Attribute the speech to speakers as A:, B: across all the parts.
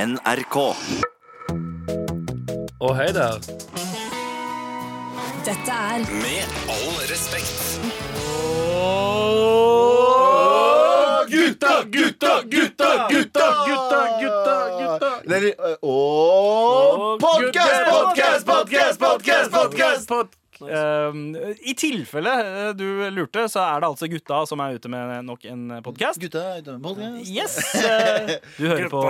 A: NRK.
B: Og hei der.
C: Dette er
D: Med all respekt.
B: Gutta, gutta, gutta, gutta, gutta, gutta, gutta.
E: Eller Ååå Podcast, podcast, podcast, podcast, podcast!
F: Eh, I tilfelle eh, du lurte, så er det altså gutta som er ute med nok en podkast.
E: Gutta, podcast.
F: Yes! eh, Du hører på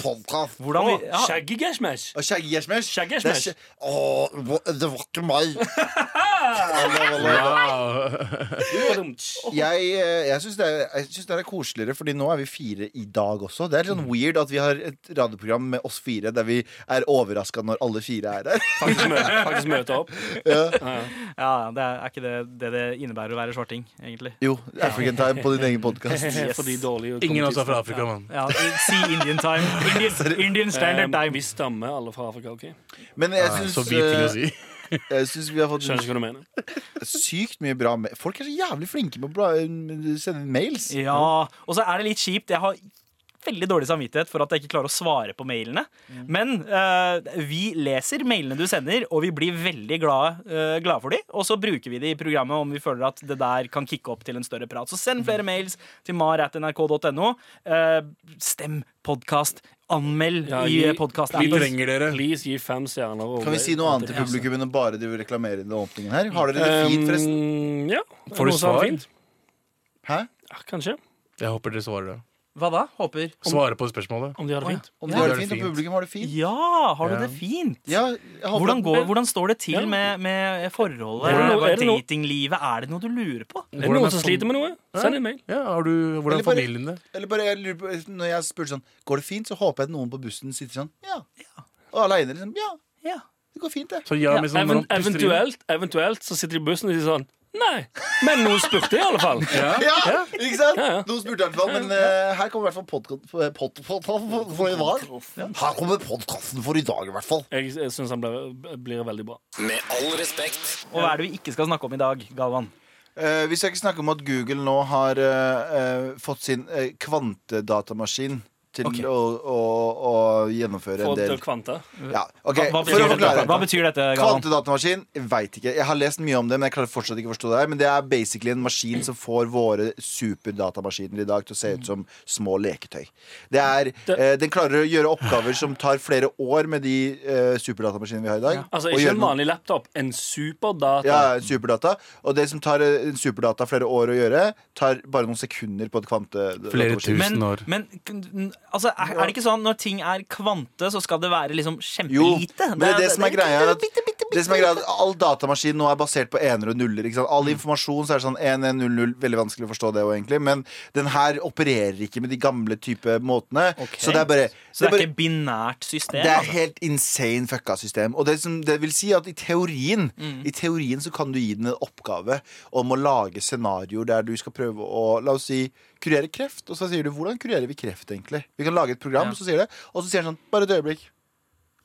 E: podcast.
F: hvordan vi ja,
B: Shaggy Gashmash.
E: Og Skjeggesmesh.
B: Skjeggesmesh.
E: Åh, det var ikke meg. Jeg, eh, jeg syns det, er- jeg synes det er koseligere, Fordi nå er vi fire i dag også. Det er litt sånn weird at vi har et radioprogram med oss fire der vi er overraska når alle fire er der.
B: Faktisk, mø faktisk møte opp.
F: ja, det er, er ikke det, det det innebærer å være svarting, egentlig.
E: Jo, African Time på din egen podkast.
F: Yes.
B: For de dårlige
G: Ingen av oss er fra Afrika, mann.
F: Ja, si Indian time. Indian, Indian standard
B: Eh,
F: time.
B: Vi stammer alle fra Afrika. ok?
E: Men jeg
G: Så hvit ting å
E: syns
G: si.
E: Jeg synes vi har fått
B: Skjønner ikke hva du mener.
E: sykt mye bra ma- Folk er så jævlig flinke med å bla- sende inn mails.
F: Ja, Og så er det litt kjipt. Jeg har veldig dårlig samvittighet for at jeg ikke klarer å svare på mailene.
G: Mm.
F: Men eh, vi leser mailene du sender, og vi blir veldig glade, eh, glade for de. Og så bruker vi de i programmet om vi føler at det der kan kicke opp til en større prat. Så send
G: Mm.
F: flere mails til mar.nrk.no. Eh, stem podkast. Anmeld
B: Ja,
F: i
B: gi-
G: Vi
F: podkast-appen.
G: trenger dere.
B: Please gi fem stjerner. og-
E: Kan vi si noe annet til publikum enn å bare drive og reklamere i den åpningen her? Har dere det fint, forresten?
B: Um, ja.
G: Får du
B: Noe som er
G: svar?
B: fint?
E: Hæ?
B: Ja, kanskje.
G: Jeg håper dere svarer. da.
F: Hva da? Håper
G: Svarer på spørsmålet.
B: Om de har det fint.
E: Om de har det fint, og publikum har det fint?
F: Ja, har du
G: Ja.
F: det fint?
E: Ja, jeg håper
F: Hvordan,
E: at-
F: går, hvordan står det til
B: Ja.
F: med, med forholdet?
B: Er det noe- er det noe-
F: datinglivet? Er det noe du lurer på?
B: Er det noen som
G: fam-
B: sliter med noe? Send en mail.
G: Ja, har du, hvordan
E: Eller
G: er
E: bare-
G: familien det?
E: Eller bare, jeg lurer på, når jeg spurte sånn Går det fint, så håper jeg at noen på bussen sitter sånn Ja. Og aleine liksom Ja,
F: Ja.
E: det går fint, det.
G: Så ja,
B: Ja,
G: men sånn,
B: even,
G: når han puster inn-
B: eventuelt, eventuelt så sitter de i bussen og sier sånn Nei, men noen spurte i alle fall.
E: Ja, ikke sant?
B: Ja, ja.
E: Noen spurte i hvert fall, men eh, her kommer i hvert fall podkasten for i dag. Her kommer podkasten for i dag, i hvert fall.
B: Jeg, jeg syns han blir, blir veldig bra.
D: Med all respekt.
F: Og hva er det vi ikke skal snakke om i dag, Galvan?
E: Eh, vi skal ikke snakke om at Google nå har eh, eh, fått sin eh, kvantedatamaskin til å, å, å gjennomføre
B: Få
E: en
B: til
E: del
B: kvanta.
E: ja, ok,
F: Hva
E: For å
F: betyr, dette?
E: forklare
F: Hva betyr dette, Galvan?
E: Kvantedatamaskin? Veit ikke. Jeg har lest mye om det, men jeg klarer fortsatt ikke å forstå det her. Men det er basically en maskin som får våre superdatamaskiner i dag til å se ut som små leketøy. Det er, eh, den klarer å gjøre oppgaver som tar flere år med de eh, superdatamaskinene vi har i dag.
B: Altså
E: og
B: ikke
E: gjøre
B: en
E: noe-
B: vanlig laptop, en superdata.
E: ja, ja, superdata. Og det som tar eh, superdata flere år å gjøre, tar bare noen sekunder på et kvante...
G: Flere
E: datamaskin.
G: tusen år.
F: men n- altså, er, er det ikke sånn når ting er kvante, så skal det være liksom
E: Jo,
F: kjempelite?
E: men det, er det som er greia er at det som er greia er at All datamaskin nå er basert på ener og nuller. Ikke sant? All informasjon så er det sånn 1100 Veldig vanskelig å forstå det også, egentlig. Men den her opererer ikke med de gamle type måtene. Så det er bare
F: Så det
E: bare-
F: er ikke binært system?
E: det er
F: altså?
E: helt insane fucka system. Og det, som, det vil si at i teorien
F: Mm.
E: I teorien så kan du gi den en oppgave om å lage scenarioer der du skal prøve å La oss si kurere kreft. Og så sier du hvordan kurerer vi kreft, egentlig? Vi kan lage et program, så sier det, og så sier den sånn Bare et øyeblikk.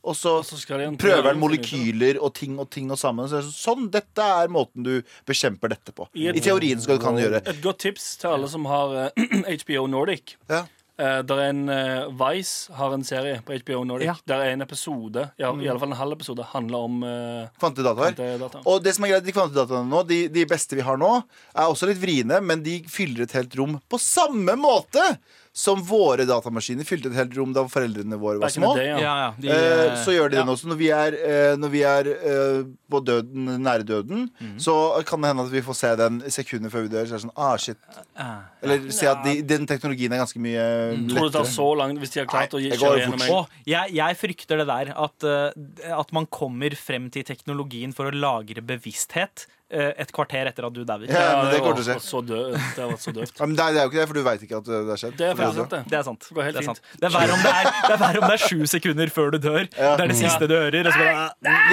E: Og så,
B: så skal de-
E: prøver den molekyler og ting og ting og sammen. Så er det sånn, sånn, dette er måten du bekjemper dette på.
B: I et-
E: I teorien skal du kan gjøre det.
B: Et godt tips til alle som har eh, HBO Nordic.
E: Ja.
B: Eh, der er en eh, Vice har en serie på HBO Nordic
F: Ja.
B: der er en episode, ja, i alle fall en halv episode, handler om eh,
E: Kvantedataer.
B: kvantedata.
E: Og det som er greit, de kvantedataene nå, de, de beste vi har nå, er også litt vriene, men de fyller et helt rom på samme måte som våre datamaskiner fylte et helt rom da foreldrene våre var
B: Back in the
E: små.
B: day, ja.
F: ja, ja, de,
E: Eh, så gjør de
F: ja.
E: den også. Når vi er, eh, når vi er eh, på døden, nære døden, så kan det hende at vi får se den sekundet før vi dør. Så er det sånn, ah shit
F: Ah.
E: Eller se at de, den teknologien er ganske mye
B: Mm. Tror du det tar
E: lettere.
B: så langt hvis de har klart
E: Nei,
B: å gi-
E: det går
B: kjøre
E: jo fort.
B: gjennom en
F: Å, jeg, jeg frykter det der at, eh, at man kommer frem til teknologien for å lagre bevissthet eh, et kvarter etter at du dauer.
E: Ja, men det
B: var-
E: kommer til å skje.
B: Så dø, det har vært så døvt.
E: Ja, men det, er, det er jo ikke det, for du veit ikke at det har skjedd.
B: Det er
E: For
B: faktisk sant,
F: Det
B: det.
F: er sant.
B: går helt
F: det, er
B: fint.
F: sant. det er verre om det er, det er, verre om det er sju sekunder før du dør. Det er det siste du hører. Og så bare,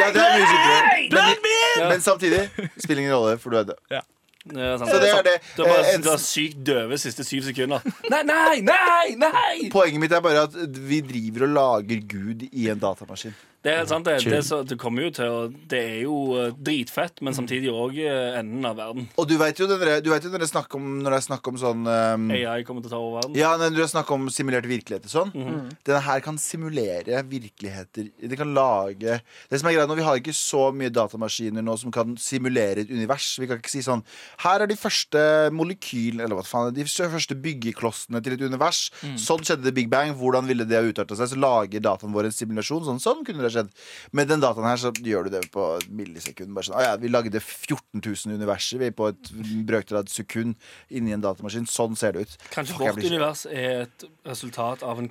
E: Ja, det er mye sikrere.
F: Døden min!
E: Men, men samtidig spiller ingen rolle, for du er død.
B: Det er sant.
E: Så det er det.
B: Det var,
E: Eh, en-
B: det var sykt døve siste syv sekunder. Nei, nei, nei! nei
E: Poenget mitt er bare at vi driver og lager Gud i en datamaskin.
B: Det er helt sant. Det,
G: Chill.
B: det, er så, det kommer jo til å Det er jo eh, dritfett, men samtidig òg enden av verden.
E: Og du vet jo den der- du vet jo når det er snakk om, når det er snakk om sånn ehm,
B: AI kommer til å ta over verden.
E: Ja, når du har snakket om simulert virkelighet og sånn
B: Mhm.
E: Denne her kan simulere virkeligheter Det kan lage Det som er greit nå, vi har ikke så mye datamaskiner nå Som kan simulere et univers Vi kan ikke si sånn Her er de første molekylene Eller hva faen De første byggeklossene til et univers
B: Mm.
E: Sånn skjedde det Big Bang Hvordan ville det ha utartet seg Så lager dataen vår en simulasjon Sånn, sånn kunne det ha skjedd Med den dataen her så gjør du det på et millisekund Bare sånn, «Å ja, vi lagde 14 000 universer Vi på et brøkter av et sekund Inni en datamaskin Sånn ser det ut
B: Kanskje
E: Fuck, jeg
B: vårt
E: blir så-
B: univers er et resultat av en
E: Ja, men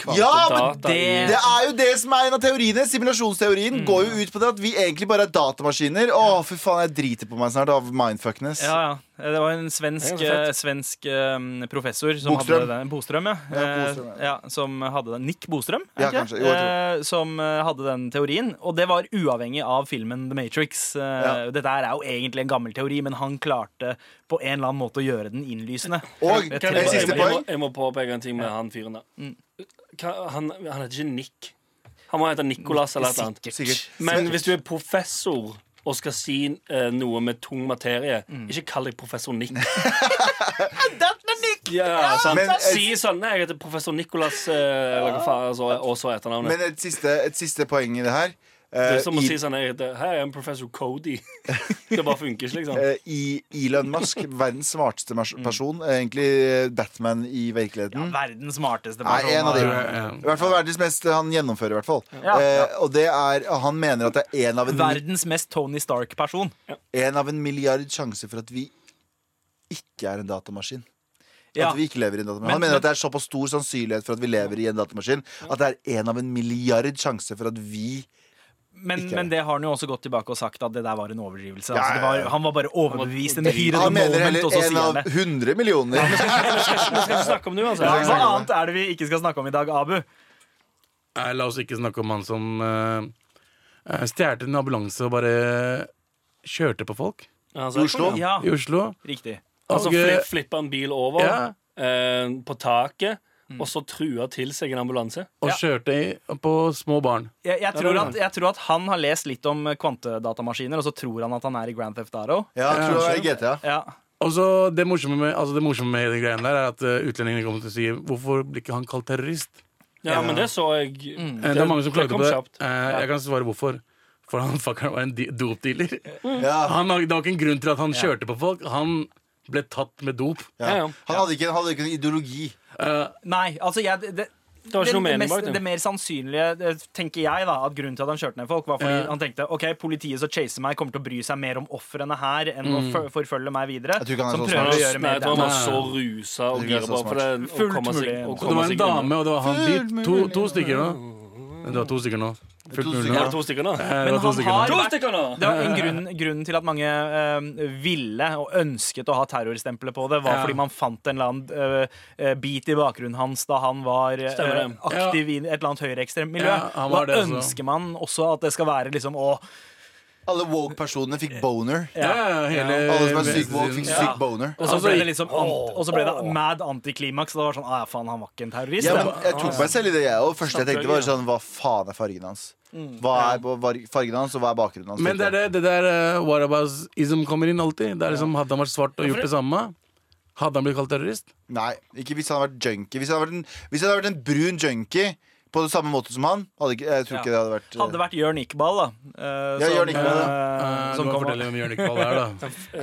B: kvantedata
F: det-
E: det er jo det som er en av teoriene. Simulasjonsteorien går jo ut på det at vi egentlig bare er datamaskiner. Å, fy faen, jeg driter på meg snart av mindfuckness.
F: Ja, ja. Eh, Det var en svensk,
B: Det er ganske fett.
F: eh, svensk eh, professor som
E: Bokström.
F: hadde den. Bostrøm, ja.
E: Ja, Boström,
F: Eh, ja. Som hadde den. Nick Bostrøm, er
E: Ja,
F: det
E: kanskje.
F: ikke?
E: Jo, jeg
F: det? Eh, Som eh, hadde den teorien. Og det var uavhengig av filmen The Matrix. Eh,
E: Ja.
F: Dette her er jo egentlig en gammel teori, men han klarte på en eller annen måte å gjøre den innlysende.
E: Og
F: Jeg
E: et
B: Kan jeg,
F: tror-
B: bare-
E: siste
B: jeg, må,
E: poeng. Mm.
B: jeg må påpeke en ting med han fyren der. Hva- Han, han heter ikke Nick. Han må hete Nicolas eller et eller annet.
E: Sikkert.
B: Men hvis du er professor og skal si eh, noe med tung materie,
E: Mm.
B: ikke kall deg professor Nick. Ja, sant.
E: Men-
B: si sånn Nei, jeg heter professor Nicolas eh, eller hva faen, altså, og så etternavnet.
E: Men et siste, et siste poeng i det her.
B: det
E: Eh,
B: er som å
E: I-
B: si sånn Jeg heter Hei, jeg er professor Cody. det bare funker ikke, liksom.
E: eh, I Elon Musk, verdens smarteste mas- person. eh, Egentlig eh, Batman i
F: Ja,
E: virkeligheten.
F: verdens smarteste
E: Nei, en av de.
F: person.
E: I hvert fall verdens mest eh, han gjennomfører, i hvert fall.
F: Ja.
E: Eh, og det er Han mener at det er en av en
F: Verdens mest Tony Stark-person.
E: en av en milliard sjanse for at vi ikke er en datamaskin.
F: Ja.
E: At vi ikke lever i en datamaskin
F: Men-
E: Han mener
F: men-
E: at det er såpass stor sannsynlighet for at vi lever i en datamaskin at det er en av en milliard sjanse for at vi
F: Men,
E: Ikke.
F: men det har han jo også gått tilbake og sagt at det der var en overdrivelse.
E: Ja,
F: Altså, det
E: ja, ja.
F: var, han var bare overbevist. En hyr
E: Han mener
F: moment,
E: heller
F: og så
E: en
F: sier han
E: av
F: det.
E: 100 millioner.
B: Hva skal vi snakke om nå,
F: Ja,
B: altså?
F: hva annet er det vi ikke skal snakke om i dag, Abu?
G: Nei, la oss ikke snakke om han som uh, stjal en ambulanse og bare kjørte på folk
B: Altså,
E: Oslo?
B: Ja.
F: Ja,
G: i Oslo.
F: riktig.
B: Altså
G: Og, eh,
B: fli, flippe en bil over
G: Ja.
B: eh, på taket, og så true til seg en ambulanse.
G: og
F: Ja.
G: kjørte i, på små barn.
F: Jeg, jeg, tror
G: det er
F: at, jeg tror at han har lest litt om kvantedatamaskiner, og så tror han at han er i Grand Theft Auto.
E: Ja, jeg tror det er GTA.
F: Ja.
G: Og så det morsomme med, altså det morsomme med hele greien der er at eh, utlendingene kommer til å si hvorfor blir ikke han kalt terrorist?
B: Ja, men det så jeg.
G: Eh, Det, er mange som klagde
B: kom
G: på det.
B: kjapt.
G: Eh, Jeg kan svare hvorfor. For han fuckeren var en di- dopdealer.
E: Ja,
G: Han, har- det var ikke en grunn til at han kjørte på folk. Han ble tatt med dop.
E: ja.
B: Ja, ja.
E: Han hadde ikke, han hadde ikke en ideologi.
G: Eh,
F: Nei, altså jeg, det, det,
B: Det var ikke noe mening
F: mest,
B: bak det.
F: det mer sannsynlige, eh, tenker jeg, da at grunnen til at han kjørte ned folk, var fordi
G: Ja.
F: han tenkte ok, politiet som chaser meg, kommer til å bry seg mer om ofrene her enn å for- forfølge meg videre.
E: Jeg tror ikke han er så
F: Som
B: Nei,
F: prøver å
B: jeg
F: gjøre mer
B: tror han
F: der.
B: var så rusa og
E: Jeg tror ikke det er
B: gira
E: så
B: på for det. Å
F: Fullt
B: komme seg,
F: mulig.
B: å
G: og det
B: komme
G: var en
B: seg unna.
G: dame, og det var han dit. To, to stykker nå. Det var to stykker nå. Fullt
E: To
G: mulig
B: Ja,
E: stykker.
G: nå.
B: det var to stykker nå.
G: Eh, det
F: Men
G: var to
F: han
G: stykker nå.
F: har
B: To
F: vært-
B: stykker nå!
F: Det var en grunn, grunnen til at mange eh, ville og ønsket å ha terrorstempelet på det, var
G: Ja.
F: fordi man fant en eller annen eh, eh, bit i bakgrunnen hans da han var eh,
B: Stemmer det.
F: aktiv i et eller annet høyreekstremt miljø.
G: Ja, han var
F: da
G: det også.
F: ønsker man også at det skal være liksom å
E: Alle woke-personene fikk boner.
G: Ja, ja, hele
E: Alle som
G: Eh,
E: er syk woke, fikk
G: venstresiden.
E: syk boner.
F: Og så
G: Altså,
F: ble
G: i-
F: det liksom ant, Og så ble det mad antiklimaks. Og det var sånn, ah, ja, faen, han var ikke en terrorist.
E: Ja,
F: da».
E: men jeg tok meg selv i det, jeg òg. Første jeg tenkte, var sånn Hva faen er fargen hans?
F: Mm.
E: Hva er var- fargen hans, og hva er bakgrunnen hans?
G: Men det er det, det der uh, whataboutism kommer inn alltid. Det er liksom, Hadde han vært svart og gjort det samme, hadde han blitt kalt terrorist?
E: Nei, ikke hvis han hadde vært junkie. Hvis han hadde vært en, hvis han hadde vært en brun junkie på det samme måte som han, hadde ikke, jeg tror ikke det hadde vært
F: hadde det vært Jørn Iqbal, da. eh,
E: Ja, Jørn Iqbal,
F: eh,
G: Eh,
F: som
G: du må
F: kom-
G: fortelle om Jørn Iqbal er, da.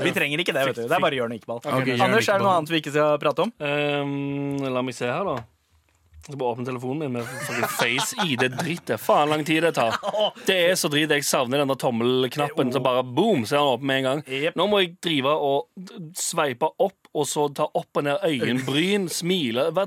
F: Vi trenger ikke det, vet du. Det er bare Jørn Iqbal.
G: Ok, Jørn
F: Anders, er det noe
G: Iqbal.
F: annet vi ikke skal prate om?
B: Ehm, la meg se her, da. Jeg skal bare åpne telefonen min med fucking face-ID-dritt. Faen lang tid det tar. Det er så drit. Jeg savner den der tommelknappen som bare boom, så er den åpen med en gang.
F: Jep.
B: Nå må jeg drive og d- sveipe opp, og så ta opp og ned øyenbryn, smile Hva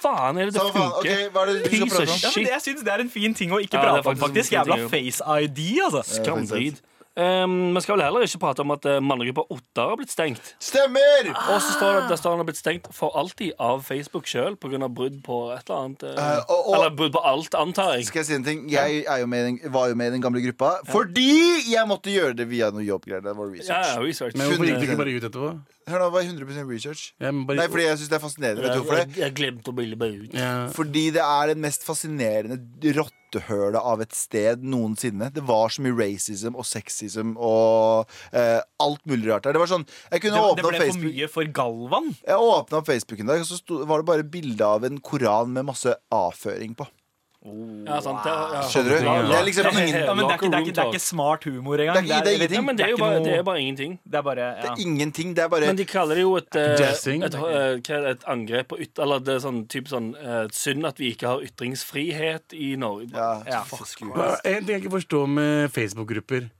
B: faen er det det
E: Samme faen,
B: funker?
E: ok, hva er det du skal
B: Piece
E: prate
B: of
E: om?
F: Ja, men
B: shit.
F: det, jeg syns det er en fin ting å ikke
B: Ja, det er
F: prate
B: faktisk
F: om,
B: en
F: faktisk.
B: fin
F: Jævla
B: ting, jo.
F: face-ID, altså.
B: Skamdrit. Ehm, Vi skal vel heller ikke prate om at eh, mannegruppen Ottar har blitt stengt.
E: Stemmer!
B: Og så står
G: Ah.
B: det at Destaren har blitt stengt for alltid av Facebook sjøl pga. brudd på et eller annet. eh,
E: Eh, og- og-
B: eller brudd på alt, antar jeg.
E: Skal jeg si en ting? Jeg er jo med, i den- var jo med i den gamle gruppa fordi jeg måtte gjøre det via noe jobbgreier. Det var
B: Ja,
E: research.
B: ja, research.
G: Men hvorfor gikk det ikke bare ut etterpå?
E: Hør nå, hva er 100 research?
G: Jeg må bare-
E: Nei, fordi jeg syns det er fascinerende. Vet du hvorfor det?
B: Jeg, jeg glemte å bilde meg ut.
G: Ja.
E: Fordi det er det mest fascinerende rottehølet av et sted noensinne. Det var så mye racism og sexism og eh, alt mulig rart der. Det var sånn, jeg kunne
F: Det, det
E: åpne opp
F: ble for
E: Facebook
F: mye for Galvan.
E: Jeg åpna opp Facebooken i dag, og så sto, var det bare bilde av en koran med masse avføring på.
B: Ja, sant, ja, ja.
E: Skjønner du?
B: Ja,
E: Det er liksom
B: ja,
E: ingen-
F: Ja, men det er, ikke, det, er ikke, det
B: Locker
F: er
B: room
F: ikke smart humor engang.
E: Det er ikke- det er
F: eller-
B: talk. Ja, men det er jo
F: ikke
B: bare,
F: noe-
B: det er bare ingenting.
F: det er bare ja.
E: Ingenting. Det er bare
B: Men de kaller det jo et, eh,
G: Dressing.
B: et, eh, hva er det, et angrep på yt... Eller det er sånn, typ sånn eh, synd at vi ikke har ytringsfrihet i Norge.
E: Ja,
F: Ja.
E: fuck you.
G: Hva- En ting jeg ikke forstår med Facebook-grupper.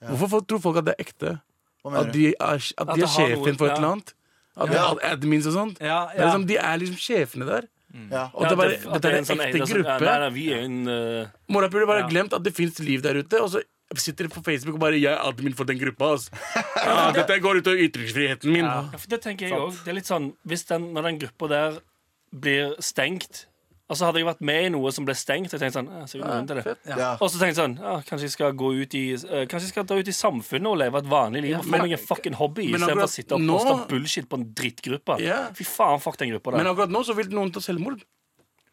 G: Hvorfor folk- tror folk at det er ekte?
E: Hva
G: At
E: mener du?
G: de er, at de
B: det
G: er
B: har noe-
G: sjefen for et
B: ja.
G: eller annet? At de
E: Ja.
G: er admins og sånt?
F: Ja,
G: Det er
F: ja.
G: liksom, de er liksom sjefene der.
E: Ja.
G: Og
B: Ja,
G: det er bare,
B: at
G: dette
B: en
G: er en
B: sånn
G: ekte
B: ene som- ja, Nei,
G: gruppe.
B: nei, vi er en eh,
G: Morapuler bare
F: Ja.
G: glemt at det fins liv der ute. Og så sitter de på Facebook og bare 'Jeg er admin for den gruppa', ass. Ja, dette går utover ytringsfriheten min.
B: Ja, for det tenker jeg også. Det er litt sånn, hvis den, Når den gruppa der blir stengt Altså Hadde jeg vært med i noe som ble stengt, Jeg tenkte sånn, ja, sikkert noen til det
E: Ja.
B: og så tenkte jeg sånn, ja, kanskje jeg skal gå ut i eh, Kanskje jeg skal dra ut i samfunnet og leve et vanlig liv. Og få
G: men-
B: meg en fucking hobby
G: men
B: istedenfor å
G: akkurat
B: sitte og
G: nå-
B: poste bullshit på en drittgruppe.
G: Ja.
B: Fy faen, fuck den gruppa
G: Men
B: der.
G: akkurat nå så vil noen ta selvmord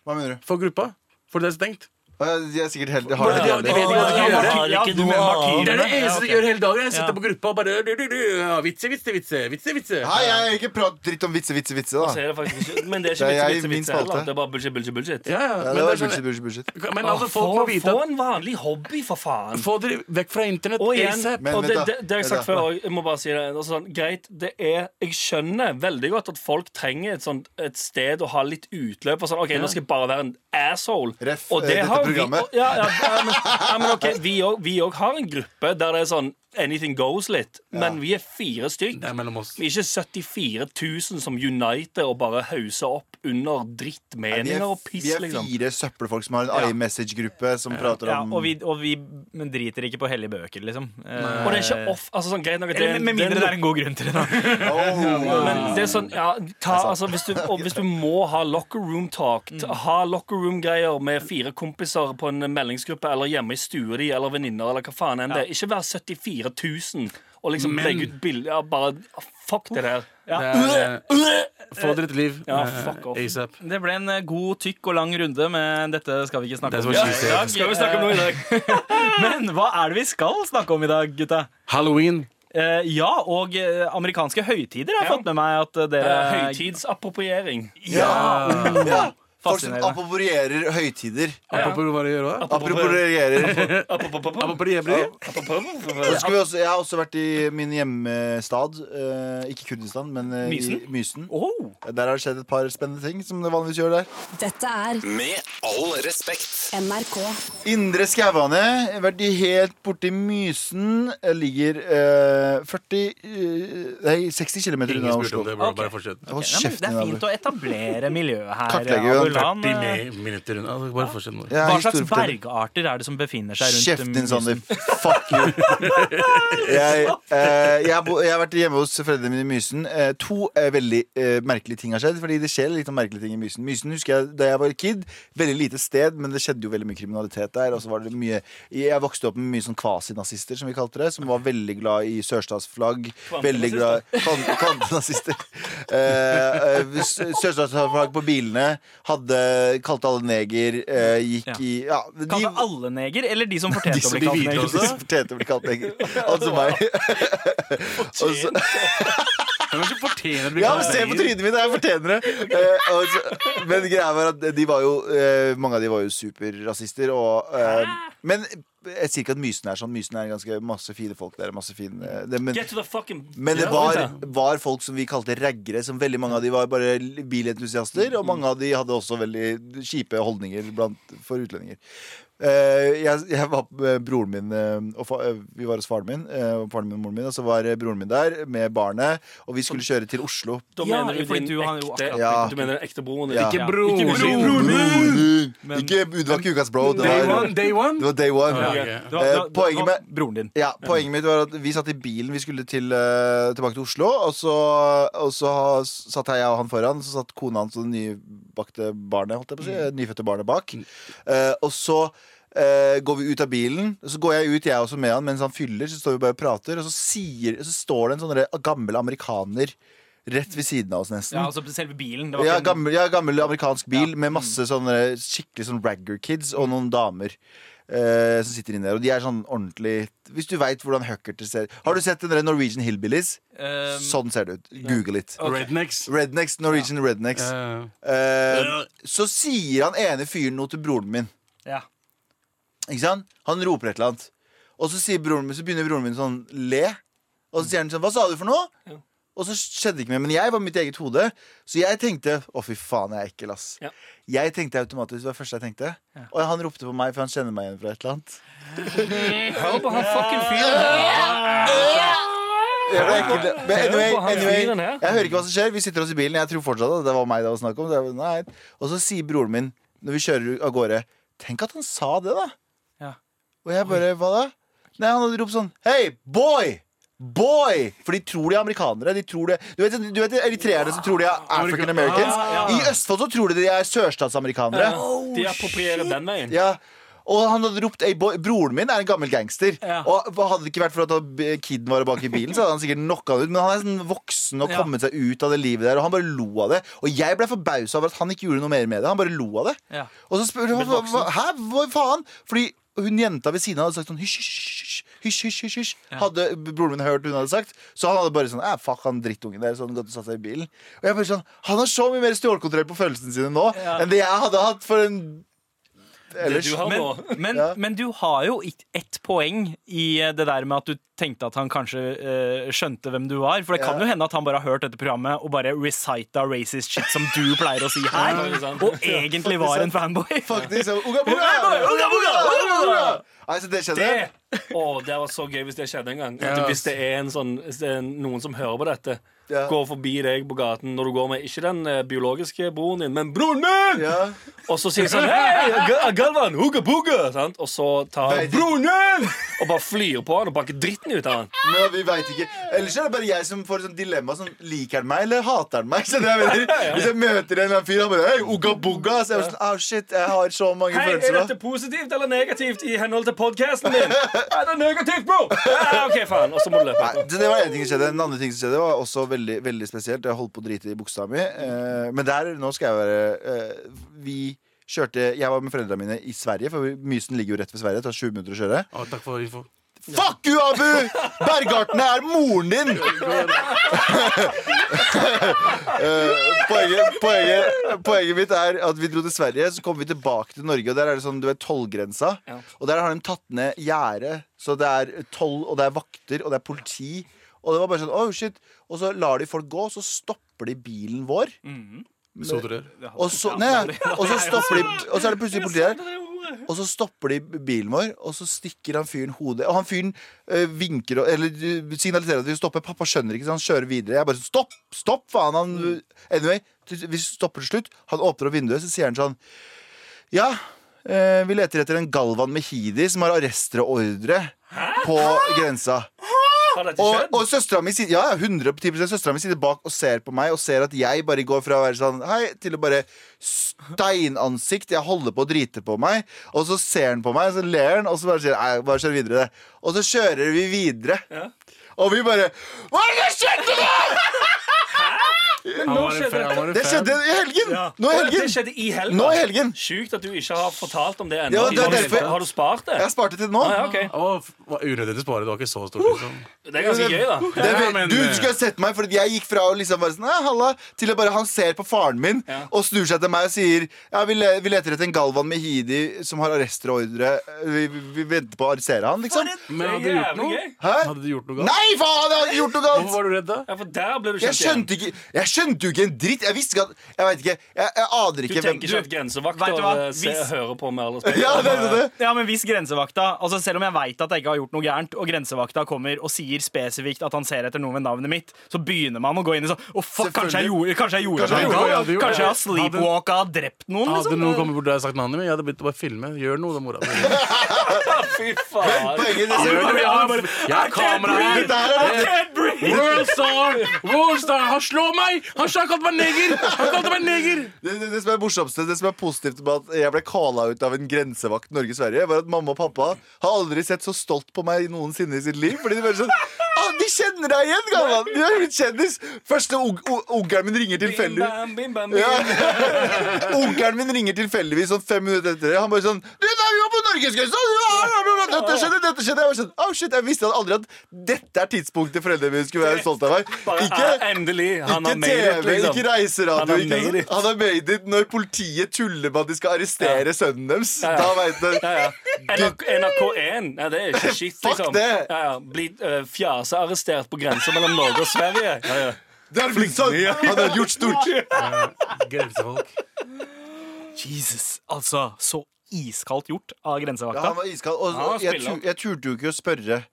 E: Hva mener du?
G: for gruppa. For det er stengt.
E: Å, De er sikkert helt De har
G: Bare
E: det
G: de-
E: helt
G: de vet
E: jævlig.
G: ikke hva de
F: Ja,
G: skal gjøre.
F: martyr- ja, du mener martyrene.
G: Det er det eneste de
F: Ja, ok.
G: gjør hele dagen. Jeg sitter på gruppa og bare du, du, du, ja, Vitse, vitse, vitse. vitse, vitse.
E: Hei, jeg ikke prat dritt om vitse, vitse, vitse,
B: Så
E: da.
B: er det faktisk ikke, men det er ikke vits,
E: Det er jeg i
B: vits,
E: min
B: vits heller.
E: spalte.
B: Det er bare bullshit, bullshit, bullshit.
G: Ja,
E: Ja,
G: ja. Men,
E: det var
G: det er
E: bullshit,
G: sånn,
E: bullshit, bullshit.
G: men altså,
B: Åh,
G: folk må
B: få-
G: vite
B: Få
G: at
B: en vanlig hobby, for faen.
G: Få dere vekk fra internett.
B: Og igjen,
G: ASAP.
E: Men
B: og det,
E: vent da,
B: det, det har jeg
E: vent
B: sagt
E: da.
B: før og jeg må bare si det. Altså, sånn, greit, det er Jeg skjønner veldig godt at folk trenger et, sånt, et sted å ha litt utløp. Og sånn, OK, nå skal jeg bare være en asshole.
E: Ref,
B: og
E: eh, dette
B: har vi-
E: programmet.
B: og- ja, ja, ja, men, ja, men ok, vi òg- Vi òg har en gruppe der det er sånn anything goes litt, men vi er fire stykk.
G: Det er mellom oss.
B: Vi er ikke 74 000 som uniter og bare hauser opp under
E: Vi
B: drittmeninger
E: er,
B: og piss,
E: vi er
B: liksom.
E: fire søppelfolk som har en
B: Ja.
E: iMessage-gruppe som prater
F: ja,
E: om
F: og, vi, og vi men driter ikke på hellige bøker, liksom. Eh,
B: Og det er ikke off, altså sånn greit nok at det er
F: Eller
B: en-
F: med
B: det er en
F: mindre det er en god grunn til det. da
E: Åh.
B: Men det er sånn, ja, ta, altså, hvis, du, og hvis du må ha locker room talk, ta- ha locker room-greier med fire kompiser på en meldingsgruppe eller hjemme i stua di eller venninner eller hva faen enn det er. Ikke vær 74 000 og liksom
G: Men-
B: legge ut bilder. Ja, bare ah, fuck det der.
G: Det er- Eh, Få dere et liv.
B: Ja,
G: eh,
B: fuck off.
G: ASAP.
F: Det ble en eh, god, tykk og lang runde, men dette skal vi ikke snakke
G: That's
F: om.
G: what
F: i
G: she said.
F: dag.
B: Skal vi snakke om noe i dag?
F: Men hva er det vi skal snakke om i dag, gutta?
G: Halloween.
F: Eh, ja, og eh, amerikanske høytider har jeg
B: Ja.
F: fått med meg at eh, dere
B: Høytidsappropriering.
E: Ja! ja. Folk som
F: Mm. Fascinerende.
E: approprierer høytider.
G: Apropos hva du gjør hva?
E: Approprierer.
B: Apropos-
G: Apropos jævlig.
E: Så skal vi også, jeg har også vært i min hjemstad. eh, ikke Kurdistan, men eh,
F: Mysen?
E: i Mysen.
F: Oh.
E: Der har det skjedd et par spennende ting som det vanligvis gjør der.
A: Dette er
D: Med all respekt.
A: NRK.
E: Indre Skauane, vært i helt borti Mysen, eh, ligger eh, 40 eh, Nei, 60 km
G: Ingen
E: unna
G: spurte om
E: Oslo.
G: det, bro.
F: Ok.
G: Bare fortsett.
E: Hold
F: Ja, men
E: kjeft.
F: det er fint å etablere miljøet her.
E: Kartlegger
F: eh,
E: jo en
F: Abulan.
G: 40 mi- minutter unna. Altså, Bare fortsett nå.
E: Ja,
F: Hva slags
E: historieforteller.
F: bergarter er det som befinner seg rundt
E: Kjeft din,
F: Mysen?
E: Sandeep. Fuck you. Jeg, eh, jeg, bo, jeg har vært hjemme hos foreldrene mine i Mysen. Eh, to eh, veldig eh, merkelige ting har skjedd. Fordi det skjer litt sånn merkelige ting i Mysen. Mysen husker jeg Da jeg var kid, veldig lite sted, men det skjedde jo veldig mye kriminalitet der. Og så var det mye Jeg vokste opp med mye sånn kvasinazister, som vi kalte det. Som var veldig glad i sørstatsflagg. Veldig glad kvan- Kvantenazister. Eh, eh, s- Sørstatsflagg på bilene. Hadde Kalte alle neger. Eh, gikk
F: Ja.
E: i Ja. de-
F: Kalte alle neger, eller de som fortjente
E: de
F: å
E: som
F: bli
E: blir
F: kalt
E: hvite
F: neger?
E: også? De som fortjente å bli kalt neger. Altså meg. Og så-
G: Men kanskje fortjener å bli
E: ja, men
G: kalt
E: se på
G: neger.
E: trynet mitt, jeg fortjener det! Eh, og så- men greia var at de var jo eh, mange av de var jo superrasister, og eh, Men jeg sier ikke at Mysen er sånn. Mysen er ganske masse fine folk der. Masse fine, eh, det, men,
B: Get to the fucking
E: men det
B: Ja,
E: var,
B: vent da.
E: var folk som vi kalte raggere, som veldig mange av de var bare bilentusiaster, og mange av de hadde også veldig kjipe holdninger blant, for utlendinger. Eh, jeg, jeg var med broren min eh, og fa, eh, Vi var hos faren min eh, og faren min og moren min, og så var eh, broren min der med barnet, og vi skulle kjøre til Oslo.
B: Da
F: Ja,
B: mener du
F: fordi
B: din
F: du har jo
B: ekte,
F: akkurat-
E: Ja.
B: du mener den ekte broren din.
E: Ja.
B: Ikke
G: Bro.
E: Broren din! Ikke, det var ikke ukas bro, det
G: Day
E: var,
G: one, day one.
E: det var day one.
B: ok.
G: Ja, ok.
F: Det var- det
E: Eh,
F: var- det
E: poenget
F: var
E: med-
F: Broren din.
E: Ja, Poenget mitt var at vi satt i bilen. Vi skulle til, eh, tilbake til Oslo. Og så, og så ha- satt jeg og han foran, så satt kona hans og det nybakte barnet holdt jeg på å si, eh, nyfødte barnet bak. Eh, og så eh, eh, går vi ut av bilen, så går jeg ut, jeg også med han, mens han fyller, så står vi bare og prater, og så, sier, så står det en sånn der gammel amerikaner rett ved siden av oss nesten.
F: Ja, altså selve bilen. Det var
E: Ja,
F: ikke en-
E: gammel, ja, gammel amerikansk bil med masse sånne skikkelig sånn ragger kids og noen damer. eh, som sitter inne der, og de er sånn ordentlig Hvis du veit hvordan Huckerter ser Har du sett den der Norwegian Hillbillies?
F: Ehm,
E: sånn ser det ut. Google it.
G: Rednecks.
E: Rednecks, Norwegian Rednecks.
G: Eh,
E: Eh, så sier han ene fyren noe til broren min.
F: ja.
E: Ikke sant? Han roper et eller annet. Og så, sier broren min, så begynner broren min sånn le. Og så sier han sånn Hva sa du for noe? Og så skjedde det ikke mer. Men jeg var mitt eget hode. Så jeg tenkte Å, fy faen, jeg er ekkel, ass.
B: Ja.
E: Jeg tenkte automatisk det var det første jeg tenkte. Og han ropte på meg, for han kjenner meg igjen fra et eller annet.
B: Hør på han fucking fyren.
E: Jeg ble ekkel. Men anyway,
B: på han
E: anyway,
B: fyren her.
E: jeg hører ikke hva som skjer. Vi sitter oss i bilen. Jeg tror fortsatt at det var meg det var snakk om. Så jeg, bare, nei. Og så sier broren min, når vi kjører av gårde Tenk at han sa det, da.
F: Ja.
E: Og jeg bare Hva da? Nei, han hadde ropt sånn Hei, boy! Boy! For de tror de er amerikanere. De tror det, du, vet, du vet de eritreerne som tror de er African Americans?
F: Ja, ja.
E: I Østfold så tror de de er sørstatsamerikanere.
B: De approprierer den veien.
E: Ja og han hadde ropt «Ey, boy, Broren min er en gammel gangster.
F: Ja.
E: Og Hadde det ikke vært for at han- eh, kiden var bak i bilen, Så hadde han sikkert knocka han ut. Men han er sånn voksen og
F: Ja.
E: kommet seg ut av det livet der. Og han bare lo av det. Og jeg ble forbausa over at han ikke gjorde noe mer med det. Han bare lo av det.
F: Ja.
E: Og så spør han hva, hva, Hæ, hva faen? Fordi hun jenta ved siden av hadde sagt sånn hysj, hysj, hysj, hysj, hysj, hysj, hysj. Hadde broren min hørt hun hadde sagt. Så han hadde bare sånn «Eh, Fuck han drittungen der. Så han gått og satt seg i bilen. Og jeg bare sånn Han har så mye mer stjålkontroll på følelsene sine nå
F: Ja.
E: enn det jeg hadde hatt for en
B: Det
E: Ellers
B: du har nå.
F: Men, men,
E: Ja.
F: men du har jo ikk- ett poeng i eh, det der med at du tenkte at han kanskje eh, skjønte hvem du var. For det kan
E: Ja.
F: jo hende at han bare har hørt dette programmet og bare recita racist shit som du pleier å si her,
B: Ja, ikke sant.
F: og egentlig var en fanboy.
E: Faktisk. så Unga bunga!
F: Unga bunga! Unga bunga!
E: Nei, så det skjedde.
B: Det Eh! Å, det var så gøy hvis det skjedde en gang. At
G: Ja.
B: hvis det er, en sånn, hvis det er noen som hører på dette,
E: Ja.
B: går forbi deg på gaten når du går med ikke den eh, biologiske broren din, men broren min!
E: Ja.
B: Og så sier de sånn Hei, Gal- Galvan, hugga bugga! Sant? Og så tar
E: Nei,
B: han
E: det-
B: broren din! Og bare flyr på han og bakker dritten ut av han.
E: Men vi vet ikke. Ellers er det bare jeg som får sånn dilemma. Sånn, liker han meg, eller hater han meg? Så det er veldig- Hvis jeg møter en eller annen fyr, han bare Hei, ugga bugga! Så jeg er sånn, «Au, shit, jeg har så mange
B: Hei, er
E: følelser
B: dette
E: nå.
B: positivt eller negativt i henhold til podkasten min? Ja, det er negativt, bro! Ja, OK, faen. Og så må du løpe.
E: Nei, så det var en ting som skjedde En annen ting som skjedde, var også veldig, veldig spesielt. Jeg holdt på å drite i buksa mi. Eh, men der, nå skal jeg være eh, Vi kjørte Jeg var med foreldrene mine i Sverige, for Mysen ligger jo rett ved Sverige. Det tar 20 minutter å kjøre.
G: Eh, å, takk for info.
E: Fuck you, Abu! Bergartene er moren din! Eh, poenget, poenget, poenget mitt er at vi dro til Sverige, så kom vi tilbake til Norge. Og der er det sånn, du vet, tollgrensa.
B: Ja.
E: Og der har de tatt ned gjerdet. Så det er toll, og det er vakter, og det er politi. Og det var bare sånn, oh shit Og så lar de folk gå, så stopper de bilen vår.
G: Så du det?
E: Og så, nei, og så stopper de Og så er det plutselig politiet her. Og så stopper de bilen vår, og så stikker han fyren hodet Og han fyren eh, vinker og- Eller eh, signaliserer at de stopper. Pappa skjønner ikke, så han kjører videre. Jeg bare sånn, Stopp! Stopp! Faen! Han, anyway, til- vi stopper til slutt. Han åpner opp vinduet, så sier han sånn Ja, eh, vi leter etter en Galvan Mehidi som har arrestreordre på grensa.
B: Har dette
E: Og,
B: skjedd?
E: og søstera mi sitter, ja, ja, 110 søstera mi sitter bak og ser på meg og ser at jeg bare går fra å være sånn hei, til å bare steinansikt. Jeg holder på å drite på meg. Og så ser han på meg, og så ler han, og så bare sier nei, bare kjør videre. det. Og så kjører vi videre. Og vi bare Hva er det som skjedde nå?!
G: Han var en fan. Han var en
E: Det
G: fan.
E: skjedde i helgen! Nå i
B: Å, Det
E: helgen!
B: skjedde i helgen.
E: Nå i helgen.
B: Sjukt at du ikke har fortalt om det ennå.
E: Ja, det er
B: har, du-
E: derfor-
B: har du spart det?
E: Jeg sparte til nå.
B: Ah, ja, ok.
G: Å, f- var unødvendig å spare. Det var ikke så stort. Liksom.
B: Uh, Det er ganske gøy, da.
E: Det er
G: Ja,
E: ve-
G: men- eh,
E: du, du skulle ha sett meg, Fordi jeg gikk fra å liksom være sånn, «Nei, halla, til å bare han ser på faren min
B: Ja.
E: og snur seg til meg og sier Ja, vi, le vi leter etter en Galvan Mehidi som har arrestordre. Vi, vi, vi venter på å arrestere han, liksom.
G: Men hadde
B: Det
G: du
B: er
G: gjort
B: jævlig
G: noe?
B: gøy.
E: Hæ?
G: Hadde du gjort noe galt?
E: Nei, faen! Jeg har ikke gjort noe
G: Hvorfor
E: galt!
G: var du redd da?
B: Ja, for der ble du
E: Jeg
B: kjent
E: skjønte, ikke, jeg skjønte jo ikke en dritt. Jeg visste ikke at Jeg vet ikke. Jeg, jeg aner
B: Du
E: ikke
B: tenker ikke at
F: Vet
B: grensevakter
F: du hva?
B: eh, se-
F: Hvis-
B: hører på med all respekt?
E: Ja, det er det.
F: Ja, men hvis grensevakta, altså Selv om jeg veit at jeg ikke har gjort noe gærent, og grensevakta kommer og sier spesifikt at han ser etter noen ved navnet mitt, så begynner man å gå inn i sånn Å, fuck, kanskje jeg gjorde Kanskje jeg gjorde
E: Kanskje jeg
F: noe
G: gjorde-
F: galt?
G: jeg hadde gjort
F: Kanskje jeg har
G: det.
F: sleepwalka og drept noen?
B: sånn,
G: Hadde
F: liksom?
B: eh,
G: noen kommet bort og sagt navnet mitt, jeg hadde begynt å bare filme. Gjør noe, da, mora mi.
B: Fy faen.
E: Poenget
G: Det er
E: er
G: det vi har, bare, Jeg har kamera her!
E: Dette her er det.
F: Can't breathe!
G: Worldstar! Worldstar! Han slår meg! Han har kalt meg neger! Han kalte meg neger!
E: Det, det, det som er morsomste, det som er positivt med at jeg ble kala ut av en grensevakt Norge-Sverige, var at mamma og pappa har aldri sett så stolt på meg noensinne i sitt liv. Fordi de bare sånn ah, De kjenner deg igjen, gammal! Du er blitt kjendis! Første ung- ung- ungeren min ringer
B: Bim,
E: tilfeldig
B: bam, bim, bam, bim.
E: ja. Onkelen min ringer tilfeldigvis sånn fem minutter etter det. Han bare sånn Du, da, vi var på norgesgrensa! Dette skjedde, dette skjedde. Jeg var sånn, oh shit, jeg visste aldri at dette er tidspunktet foreldrene mine skulle være stolte av meg.
B: Bare,
E: Ikke,
B: ah, endelig. Han
E: ikke
B: har made it,
E: TV,
B: liksom.
E: ikke reiseradio.
B: Han har
E: ikke-
B: made it.
E: Han har made it når politiet tuller med at de skal arrestere sønnen deres.
B: Ja, ja.
E: Da veit du.
B: Ja, ja. NRK, NRK1, ja, det er ikke skitt,
E: Fuck
B: liksom.
E: det.
B: Ja, ja. Bli uh, fjasearrestert på grensa mellom Norge og Sverige. Ja, ja.
E: Det er blitt sånn! Han har gjort stort.
G: Grensefolk.
F: Jesus, altså. Så iskaldt gjort av
E: Ja,
F: grensevakta.
E: han var iskald. Og,
B: Ja,
E: og jeg,
B: spiller.
E: tu- jeg turte jo ikke å spørre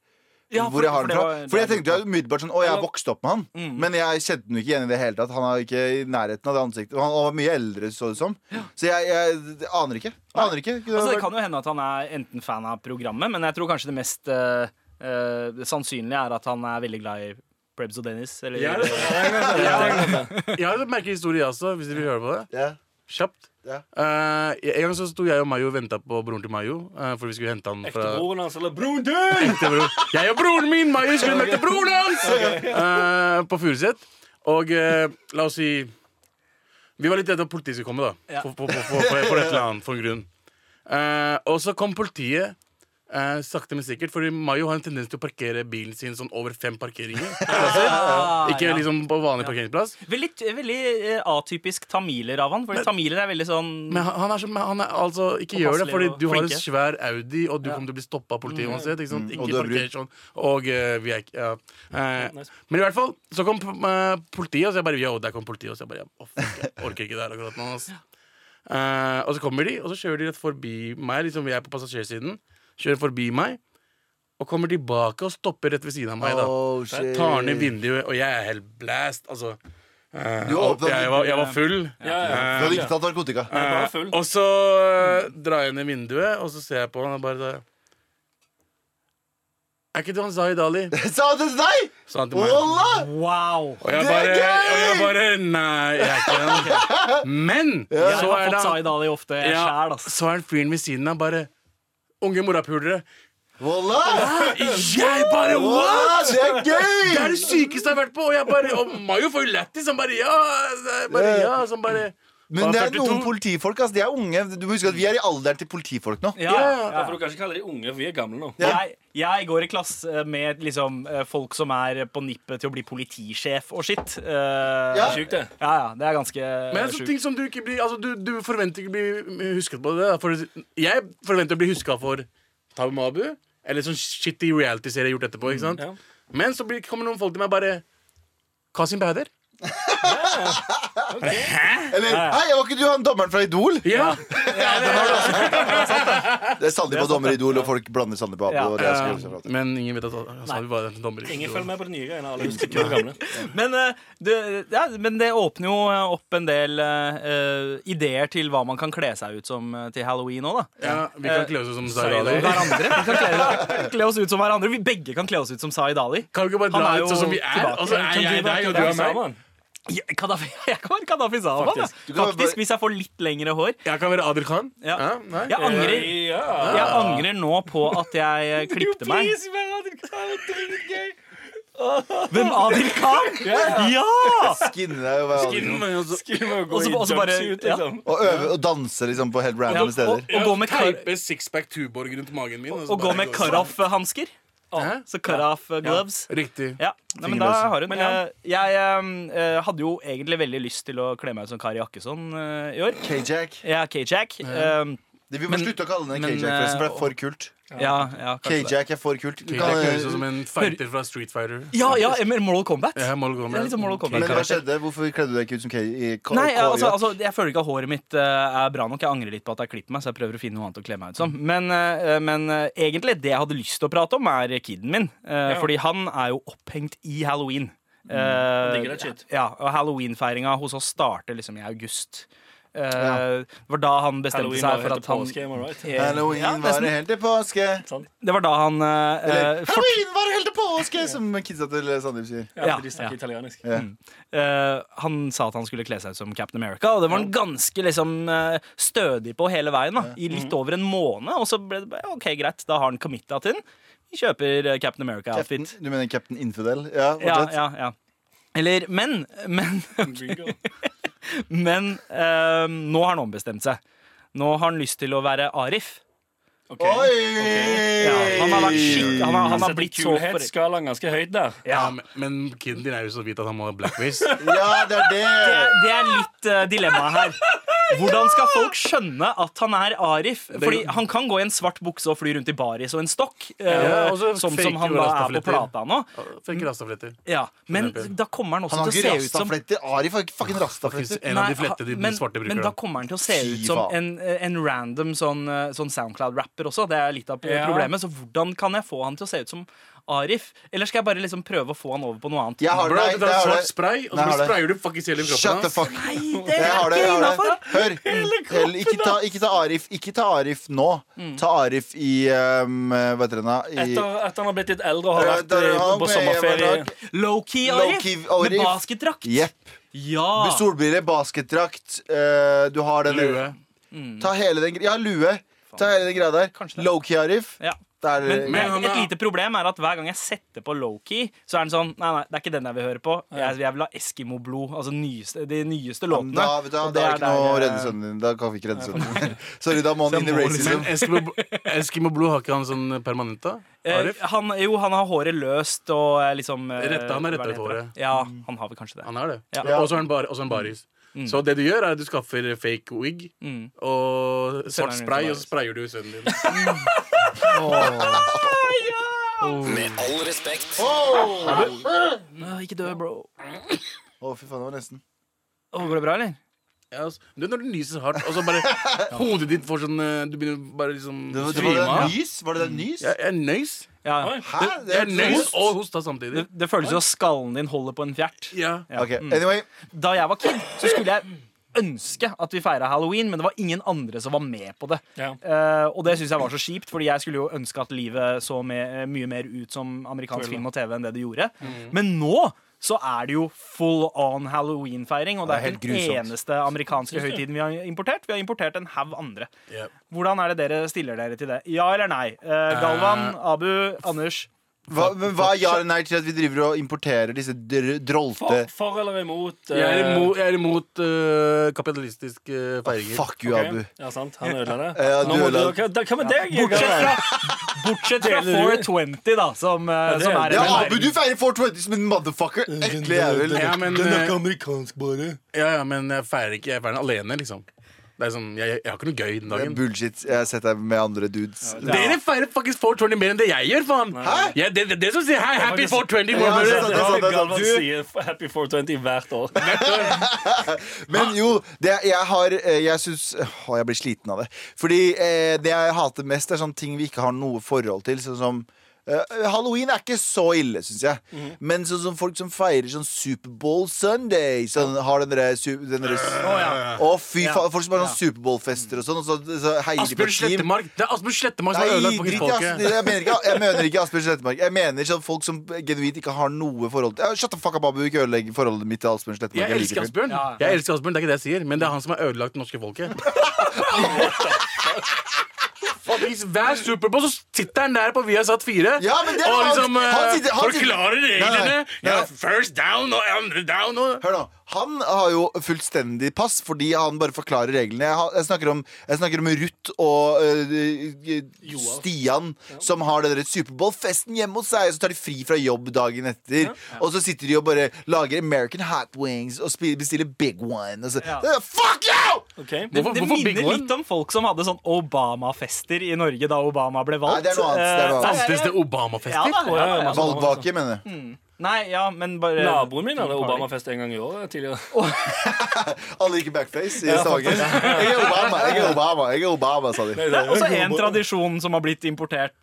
F: Ja,
E: hvor jeg har den
F: det
E: fra.
F: var-
E: Fordi jeg tenkte jo umiddelbart sånn Å, jeg har vokst opp med han.
B: Mm.
E: Men jeg kjente den jo ikke igjen i det hele tatt. Han er ikke i nærheten av det ansiktet. Han han var mye eldre, så det som. Så jeg, jeg det aner ikke. Aner ikke. Kunne det
F: Altså, det
E: vært-
F: kan jo hende at han er enten fan av programmet, men jeg tror kanskje det mest eh, eh, sannsynlige er at han er veldig glad i Prebz og Dennis. Eller,
G: Jeg jeg har en merkelig historie, jeg også, hvis dere vil høre på det.
E: ja.
G: Kjapt.
E: Ja.
G: Eh, en gang så sto jeg og Mayo og venta på broren til Mayo. eh, for vi skulle hente han fra
B: Ektebroren hans eller broren din!
G: Ekte bror. Jeg og broren min, Mayo, skulle møte broren hans! Eh, på Furuset. Og eh, la oss si Vi var litt redde for at politiet skulle komme, da.
F: Ja.
G: For, for, for, for, for, for et eller annet, for en grunn. Eh, og så kom politiet. eh, sakte, men sikkert. Fordi Mayo har en tendens til å parkere bilen sin sånn over fem parkeringer.
F: Ah,
G: Ikke
F: ja.
G: liksom på vanlig parkeringsplass.
F: Veldig, veldig eh, atypisk tamiler av han, for tamiler er veldig sånn
G: Men han han er, så, men han er altså Ikke gjør det,
F: Påpasselig
G: fordi
F: og
G: du har en
F: flinke.
G: svær Audi, og du kommer til å bli stoppa av politiet uansett. Ikke, sant?
E: Mm, og
G: ikke
E: du er
G: parker sånn. Og eh, vi er ikke ja. Eh,
B: nice.
G: Men i hvert fall, så kom eh, politiet, og så jeg bare Yo, der kom politiet, og så jeg bare «Å, fuck, Jeg orker ikke det her akkurat nå. ass». Eh, og så kommer de, og så kjører de rett forbi meg. Liksom Jeg er på passasjersiden. Kjører forbi meg, og kommer tilbake og stopper rett ved siden av meg. da
E: Oh,
G: Så
E: shit.
G: jeg tar ned vinduet, og jeg er helt blast. Altså. Eh,
E: Du åpnet
G: jeg, var, jeg var full. Eh,
B: Ja, ja.
E: Du hadde ikke tatt narkotika.
B: Jeg er bare full.
G: Og så eh, drar jeg ned vinduet, og så ser jeg på han og bare da- Er ikke du han Zahid Ali?
E: Sa han det til deg?!
G: Sa han til meg.
E: Walla!
F: Wow!
G: Og jeg
E: Det er
G: bare,
E: gøy!
G: og jeg bare Nei, jeg er ikke han. Men
F: Jeg
G: så
F: har
G: er det
F: fått
G: han-
F: Zaid Ali ofte jeg
G: ja,
F: sjæl, altså.
G: så er det fyren ved siden av bare Unge morapulere.
E: Walla!
G: Jeg bare
E: Walla,
G: What?!
E: Ah, Det er
G: Det er
E: gøy!
G: det sykeste jeg har vært på! Og jeg bare, og Mayo får jo lættis. Han bare ja! jeg bare, ja som bare,
E: Men
G: Var
E: det er
G: 42?
E: noen politifolk. ass. De er unge. Du må huske at vi er i alderen til politifolk nå.
F: Ja,
G: ja.
B: Ja, for du kan ikke kalle de unge, for vi er gamle nå.
F: Jeg, jeg går i klasse med liksom, eh, folk som er på nippet til å bli politisjef og shit. Eh,
E: Ja.
B: Sjukt, det.
F: ja, ja, det er ganske
G: Men det er
F: sjukt.
G: sånne ting som du ikke blir Altså, du, du forventer ikke å bli husket på det. Da. For jeg forventer å bli huska for Tabu Mabu, eller sånn shitty reality-serie gjort etterpå. ikke sant?
B: Ja.
G: Men så blir, kommer noen folk til meg bare Kasim Bader?
E: Eller hei, var ikke du han dommeren fra Idol?
G: Ja!
E: Det er Sandeep og dommer i Idol, og folk blander Sandeep og
F: Ja.
E: Abo. og det skal jeg også prate om.
G: Men ingen vet at han sa vi bare en dommer.
B: Ingen følger med på de nye greiene. Alle husker ikke de gamle.
F: Men, eh, det, ja, men det åpner jo eh, opp en del eh, eh, ideer til hva man kan kle seg ut som eh, til halloween òg, da.
G: Ja, vi kan kle oss ut som Zahid
B: Zahid
G: Ali.
B: Ali.
F: Hverandre. Vi kan kle, kle oss ut som hverandre. Vi begge kan kle oss ut som Zaid Ali.
G: Kan vi ikke bare
F: Han
G: dra
F: er
G: ut
F: jo
G: sånn som vi er?
F: tilbake.
G: Og så er
F: Kan
G: jeg
F: du være
G: deg, og du er
B: Kadafi
G: meg.
B: Saman.
F: Ja, Kadafi, jeg kan være Kadafi Zaman. Faktisk.
B: Faktisk.
E: Du kan være
F: Faktisk,
E: bare-
F: hvis jeg får litt lengre hår.
G: Jeg kan være Adil Khan.
F: Ja.
G: Ja, nei. Eh,
F: Jeg angrer,
B: Ja.
F: jeg angrer nå på at jeg eh, klipte meg. Hvem? Adil Khan? Ja!
E: Skinne deg og være
G: Skinner meg, og så-
B: altså, Og
F: Også- også bare- ja.
E: Og øve og danse liksom på helt
F: Ja,
E: random
F: og,
E: steder.
F: og gå med, kar
G: Teipe sixpack Tuborg rundt magen min. så
F: og gå
G: bare
F: med
G: gå.
F: Karaf-hansker. Så Karaf-gloves.
G: Riktig.
F: Ja, nei, men da
G: Fingerløse.
F: har hun
B: Men ja.
F: Eh, Jeg eh, eh, hadde jo egentlig veldig lyst til å kle meg ut som Kari Jakkesson eh, i år.
E: K-Jack.
F: Jeg er K-Jack. eh,
E: Det- Vi må
F: Men-
E: slutte å kalle den
F: men,
E: K-Jack, forresten, for det er
F: eh,
E: for kult.
F: ja, ja, kanskje det.
E: K-Jack er for kult. Du
G: Kate
E: kan-
G: høres ut som en fighter fra Street Fighter.
F: ja, ja, men Mortal Kombat.
G: Ja, Mortal Kombat.
F: Det er litt som Mortal Kombat.
E: Men hva skjedde? Hvorfor kledde du deg ikke ut som K- i K-
F: Nei,
E: K-
F: altså, altså, Jeg føler ikke at håret mitt eh, er bra nok. Jeg angrer litt på at jeg klipper meg. Så jeg prøver å finne noe annet å kle meg ut som Men, eh, men eh, egentlig det jeg hadde lyst til å prate om, er kiden min. Eh, Fordi han er jo opphengt i halloween. Eh,
B: Mm. digger det shit.
F: ja, og Halloween-feiringa hos oss starter liksom i august. Eh, Det var da han bestemte
B: Halloween
F: seg
B: var
F: for
B: helt
F: at han
B: påske, am I right?
F: Eh,
E: Halloween
F: ja,
E: var
F: nesten.
E: det helt til påske.
F: Det var da han eh,
E: Eller,
F: eh, fort,
E: Halloween var det helt til påske, som kidsa til Sandeep sier.
B: Ja,
F: Ja,
B: for de snakker
F: ja.
B: italiensk.
E: Ja.
F: eh, Han sa at han skulle kle seg ut som Captain America, og det var han ganske liksom eh, stødig på hele veien. da I litt over en måned, og så ble det bare OK, greit, da har han committa til den. Vi kjøper eh, Captain
E: Captain,
F: America-outfit.
E: du mener Captain Infidel? Ja,
F: Ja,
E: fortsett.
F: ja, ja. Eller, men, men
B: Bingo.
F: Men eh, nå har han ombestemt seg. Nå har han lyst til å være Arif.
B: Ok.
E: Oi!
F: Ja, han har vært skikk- han har,
B: Han
F: han har
B: setter
F: blitt så for...
B: kulhetsskalaen ganske høyt der.
G: Ja, men, men kiden din er jo så hvit at han må ha blackface.
E: Ja, det er
F: Det,
E: det.
F: det er litt uh, dilemmaet her. Hvordan skal folk skjønne at han er Arif? Fordi han kan gå i en svart bukse og fly rundt i baris og en stokk, eh,
G: Ja, og så
F: sånn
G: fake
F: som han da er på
G: rastafletter.
F: plata nå.
G: Fikk rastafletter.
F: Ja, men
G: eksempel.
F: da kommer han
E: Han
F: også
E: har
F: til å
E: ikke
F: se ut som Ah,
E: rastafletter. Ari har ikke fucking rastafletter.
G: En av
F: Nei,
G: de flette de
F: ha- men,
G: svarte bruker.
F: men da
G: da.
F: kommer han til å se
E: Fy
F: ut som
E: faen.
F: en, eh, en random sånn, eh, sånn SoundCloud-rapper også. Det er litt av
B: Ja.
F: problemet. Så hvordan kan jeg få han til å se ut som Arif? Eller skal jeg bare liksom prøve å få han over på noe annet?
E: Jeg har
G: Bro,
E: det.
G: du
E: Nei,
G: tar
E: jeg har
G: svart
E: det.
G: spray, og
E: Nei,
G: så
E: jeg har det.
G: sprayer du fuckings hele kroppen
E: Shut the
G: hans.
E: fuck
F: det
E: Jeg har det, jeg har det.
F: innenfor.
E: Hør! Hell, ikke, ta, ikke ta Arif Ikke ta Arif nå.
F: Mm.
E: Ta Arif i um, Hva heter den, da? I
B: Etter at han har blitt litt eldre og har
E: Eh,
B: vært
E: der
B: eh,
E: han
B: på
E: med
B: sommerferie.
E: hjemmedrag.
F: Low-key Arif
E: Low-key
F: med
E: Arif.
F: basketdrakt.
E: Jepp.
F: Ja!
E: Solbriller, basketdrakt. eh, du har den
G: Lue.
E: Ta hele den gre- Ja, lue. Ta hele den greia
F: Kanskje
E: der.
F: det.
E: Low-key Arif.
F: Ja.
E: Der,
F: Men,
G: Men han
F: et
G: er-
F: lite problem er at hver gang jeg setter på Low-key så er den sånn Nei, nei, det er ikke den jeg vil høre på. Jeg, jeg vil ha Eskimo-blod. Altså nyeste, de nyeste låtene.
E: da, vet du, hva, da
F: Og det
E: er
F: er
E: ikke noe å
F: der, eh,
E: redde sønnen din. Da kan vi ikke redde sønnen din. Sorry, da må han inn i racism.
G: Men Eskimo- Eskimo Blod har ikke han sånn permanent, da?
F: Eh,
G: Arif?
F: han, jo, han har håret løst og eh, liksom eh,
G: Retta, han
F: hva
G: er
F: det
G: rettet
F: heter,
G: håret.
F: da? Ja, han har vel kanskje det.
G: Han er det.
F: Ja.
G: Og så er han, bar, og så er han baris. Så det du gjør, er at du skaffer fake wig og
F: han
G: svart
F: rundt i
G: spray, og
F: baris.
G: så sprayer du sønnen din.
D: Med all respekt.
F: Åh, ikke dø, bro.
E: Å, fy faen, det var nesten.
F: Åh, går det bra, eller?
G: Ja, altså, du vet når du nyser hardt, og så bare hodet ditt får sånn eh, Du begynner bare liksom
E: Det var, det var
G: svime
E: det
G: av.
E: nys? Var det det nys?
G: Jeg, jeg nøys.
F: Ja.
B: Oi.
E: Hæ? Det
G: Jeg
E: er
G: nøys
E: host.
G: og hosta samtidig.
F: Det, det føles jo som skallen din holder på en fjert.
G: Ja.
E: Ok, anyway.
F: Da jeg var kid, så skulle jeg ønske at vi feira halloween, men det var ingen andre som var med på det.
B: Ja.
F: Eh, og det syns jeg var så kjipt, Fordi jeg skulle jo ønske at livet så me- mye mer ut som amerikansk film og TV enn det det gjorde.
E: Mm.
F: Men nå så er det jo full on halloween-feiring, og det er
E: Ja, det er
F: ikke den
E: helt grusomt.
F: eneste amerikanske høytiden vi har importert. Vi har importert en haug andre.
G: Ja.
F: Hvordan er det dere stiller dere til det? Ja eller nei? Eh, Galvan, Abu, Anders.
E: Hva, men hva er ja eller nei til at vi driver og importerer disse dr drolte
B: For, for eller imot? eh,
G: Jeg er imot, jeg er imot eh, kapitalistiske eh, feiringer.
E: Fuck you,
B: ok.
E: Abu.
B: Ja, sant. Han ødela det.
E: Ja, du
B: Nå må
E: ødela
B: du- Hva hva med deg?
F: Bortsett
B: Jørgen?
F: fra, bortsett fra 420, da, som, eh,
B: det-
F: som er
E: Ja,
F: en
E: Abu, du feirer 420 som en motherfucker. Ekle jævel.
G: Ja, men, eh,
E: amerikansk, bare.
G: ja, ja, men jeg feirer ikke. Jeg feirer den alene, liksom. Det er sånn, jeg, jeg har ikke noe gøy den dagen.
E: Bullshit. Jeg har sett deg med andre dudes.
G: Dere feirer faktisk 420 mer enn det jeg gjør, faen!
E: Hæ?
G: Ja, det, det, det som sier hei, happy
B: faktisk-
G: 420!
E: Ja, altså, det er
G: brother.
E: sant, det er sant, det er sant.
B: Galvan
E: Du-
B: sier Happy 420 hvert år.
G: Ah.
E: Men jo, det jeg har eh, Jeg syns Å, jeg blir sliten av det. Fordi eh, det jeg hater mest, er sånne ting vi ikke har noe forhold til. Sånn som eh, Halloween er ikke så ille, syns jeg.
G: Mhm.
E: Men sånn som folk som feirer sånn Superbowl Sunday Sånn har den derre su- den derre- Å, fy faen. Folk som har sånn Superbowl-fester og sånn, og så, så heier de på
G: Asbjørn
E: et team.
G: Slettemark Det er Asbjørn Slettemark som har
E: Nei,
G: ødelagt
E: drit i
G: faktisk
E: Asbjørn.
G: folket.
E: Jeg mener ikke, jeg mener ikke Asbjørn Slettemark. Jeg mener sånn folk som genuint ikke har noe forhold til Ja, Shut the fuck up, Abu. Ikke ødelegg forholdet mitt til Asbjørn Slettemark.
G: Jeg
E: liker
G: elsker
E: fyren.
G: Asbjørn,
F: Ja, ja.
G: Jeg elsker Asbjørn, det er ikke det jeg sier, men det er han som har ødelagt det norske folket. Fuckings Hver Superbowl så sitter han der på Viasat 4
E: Ja, men det er
G: og
E: han-
G: liksom eh,
E: han sitter- han sitter-
G: forklarer reglene.
E: Nei, nei,
G: Ja,
E: nei.
G: first down og andre down og
E: Hør nå, Han har jo fullstendig pass fordi han bare forklarer reglene. Jeg, har, jeg, snakker, om, jeg snakker om Ruth og øh, øh, Stian som har den der Superbowl-festen hjemme hos seg. Og så tar de fri fra jobb dagen etter. Og så sitter de og bare lager American Hat Wings og spi- bestiller Big One. Og så,
F: Ja.
E: Det er- Fuck you!
B: Ok.
F: Det,
G: Hvorfor-
F: det
G: hvorfor Big
F: minner
G: One?
F: litt om folk som hadde sånn Obama-fester i Norge da Obama ble
E: Nei,
F: valgt.
E: det er noe annet, det er noe
F: Eh,
E: annet.
G: Fantes det
F: Ja,
G: Obama-fester?
F: da, ja, ja, Mm. ja.
E: Valgvake, mener jeg.
F: Nei, ja, men bare
B: Naboen min hadde Obama-fest en gang i året tidligere.
E: Alle gikk backface i Stavanger. Jeg er Obama, jeg er Obama, jeg er Obama, sa de.
F: Det er også en tradisjon som har blitt importert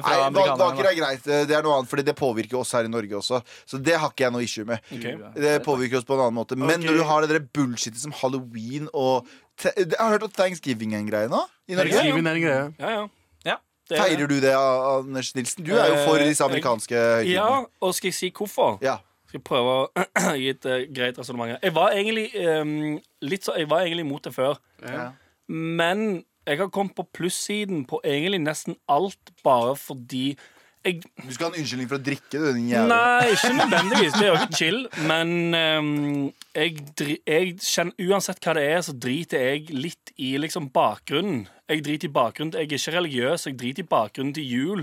E: Nei,
F: fra
E: Valgvaker
F: amerikanerne.
E: er greit. Eh, Det er noe annet, fordi det påvirker oss her i Norge også. Så det har ikke jeg noe issue med.
B: Ok.
E: Det påvirker oss på en annen måte. Men når du har det der bullshitet som halloween og Te- Jeg har hørt at thanksgiving er en greie nå i Norge.
G: Thanksgiving er en greie.
B: Ja, ja.
F: Ja.
B: Det er
E: Feirer
B: det.
E: du det, Anders Nilsen? Du er jo for disse amerikanske høytidene.
B: Ja, og skal jeg si hvorfor?
E: Ja.
B: Skal jeg prøve å gi et eh, greit resonnement her. Jeg var egentlig eh, litt så, Jeg var egentlig imot det før. Men jeg har kommet på plussiden på egentlig nesten alt, bare fordi jeg,
E: Du skal ha en unnskyldning for å drikke, du, din jævel.
B: Nei, ikke nødvendigvis. Det er jo ikke chill. Men ehm, jeg, dri- jeg kjenner Uansett hva det er, så driter jeg litt i liksom bakgrunnen. Jeg driter i bakgrunnen. Jeg er ikke religiøs, jeg driter i bakgrunnen til jul.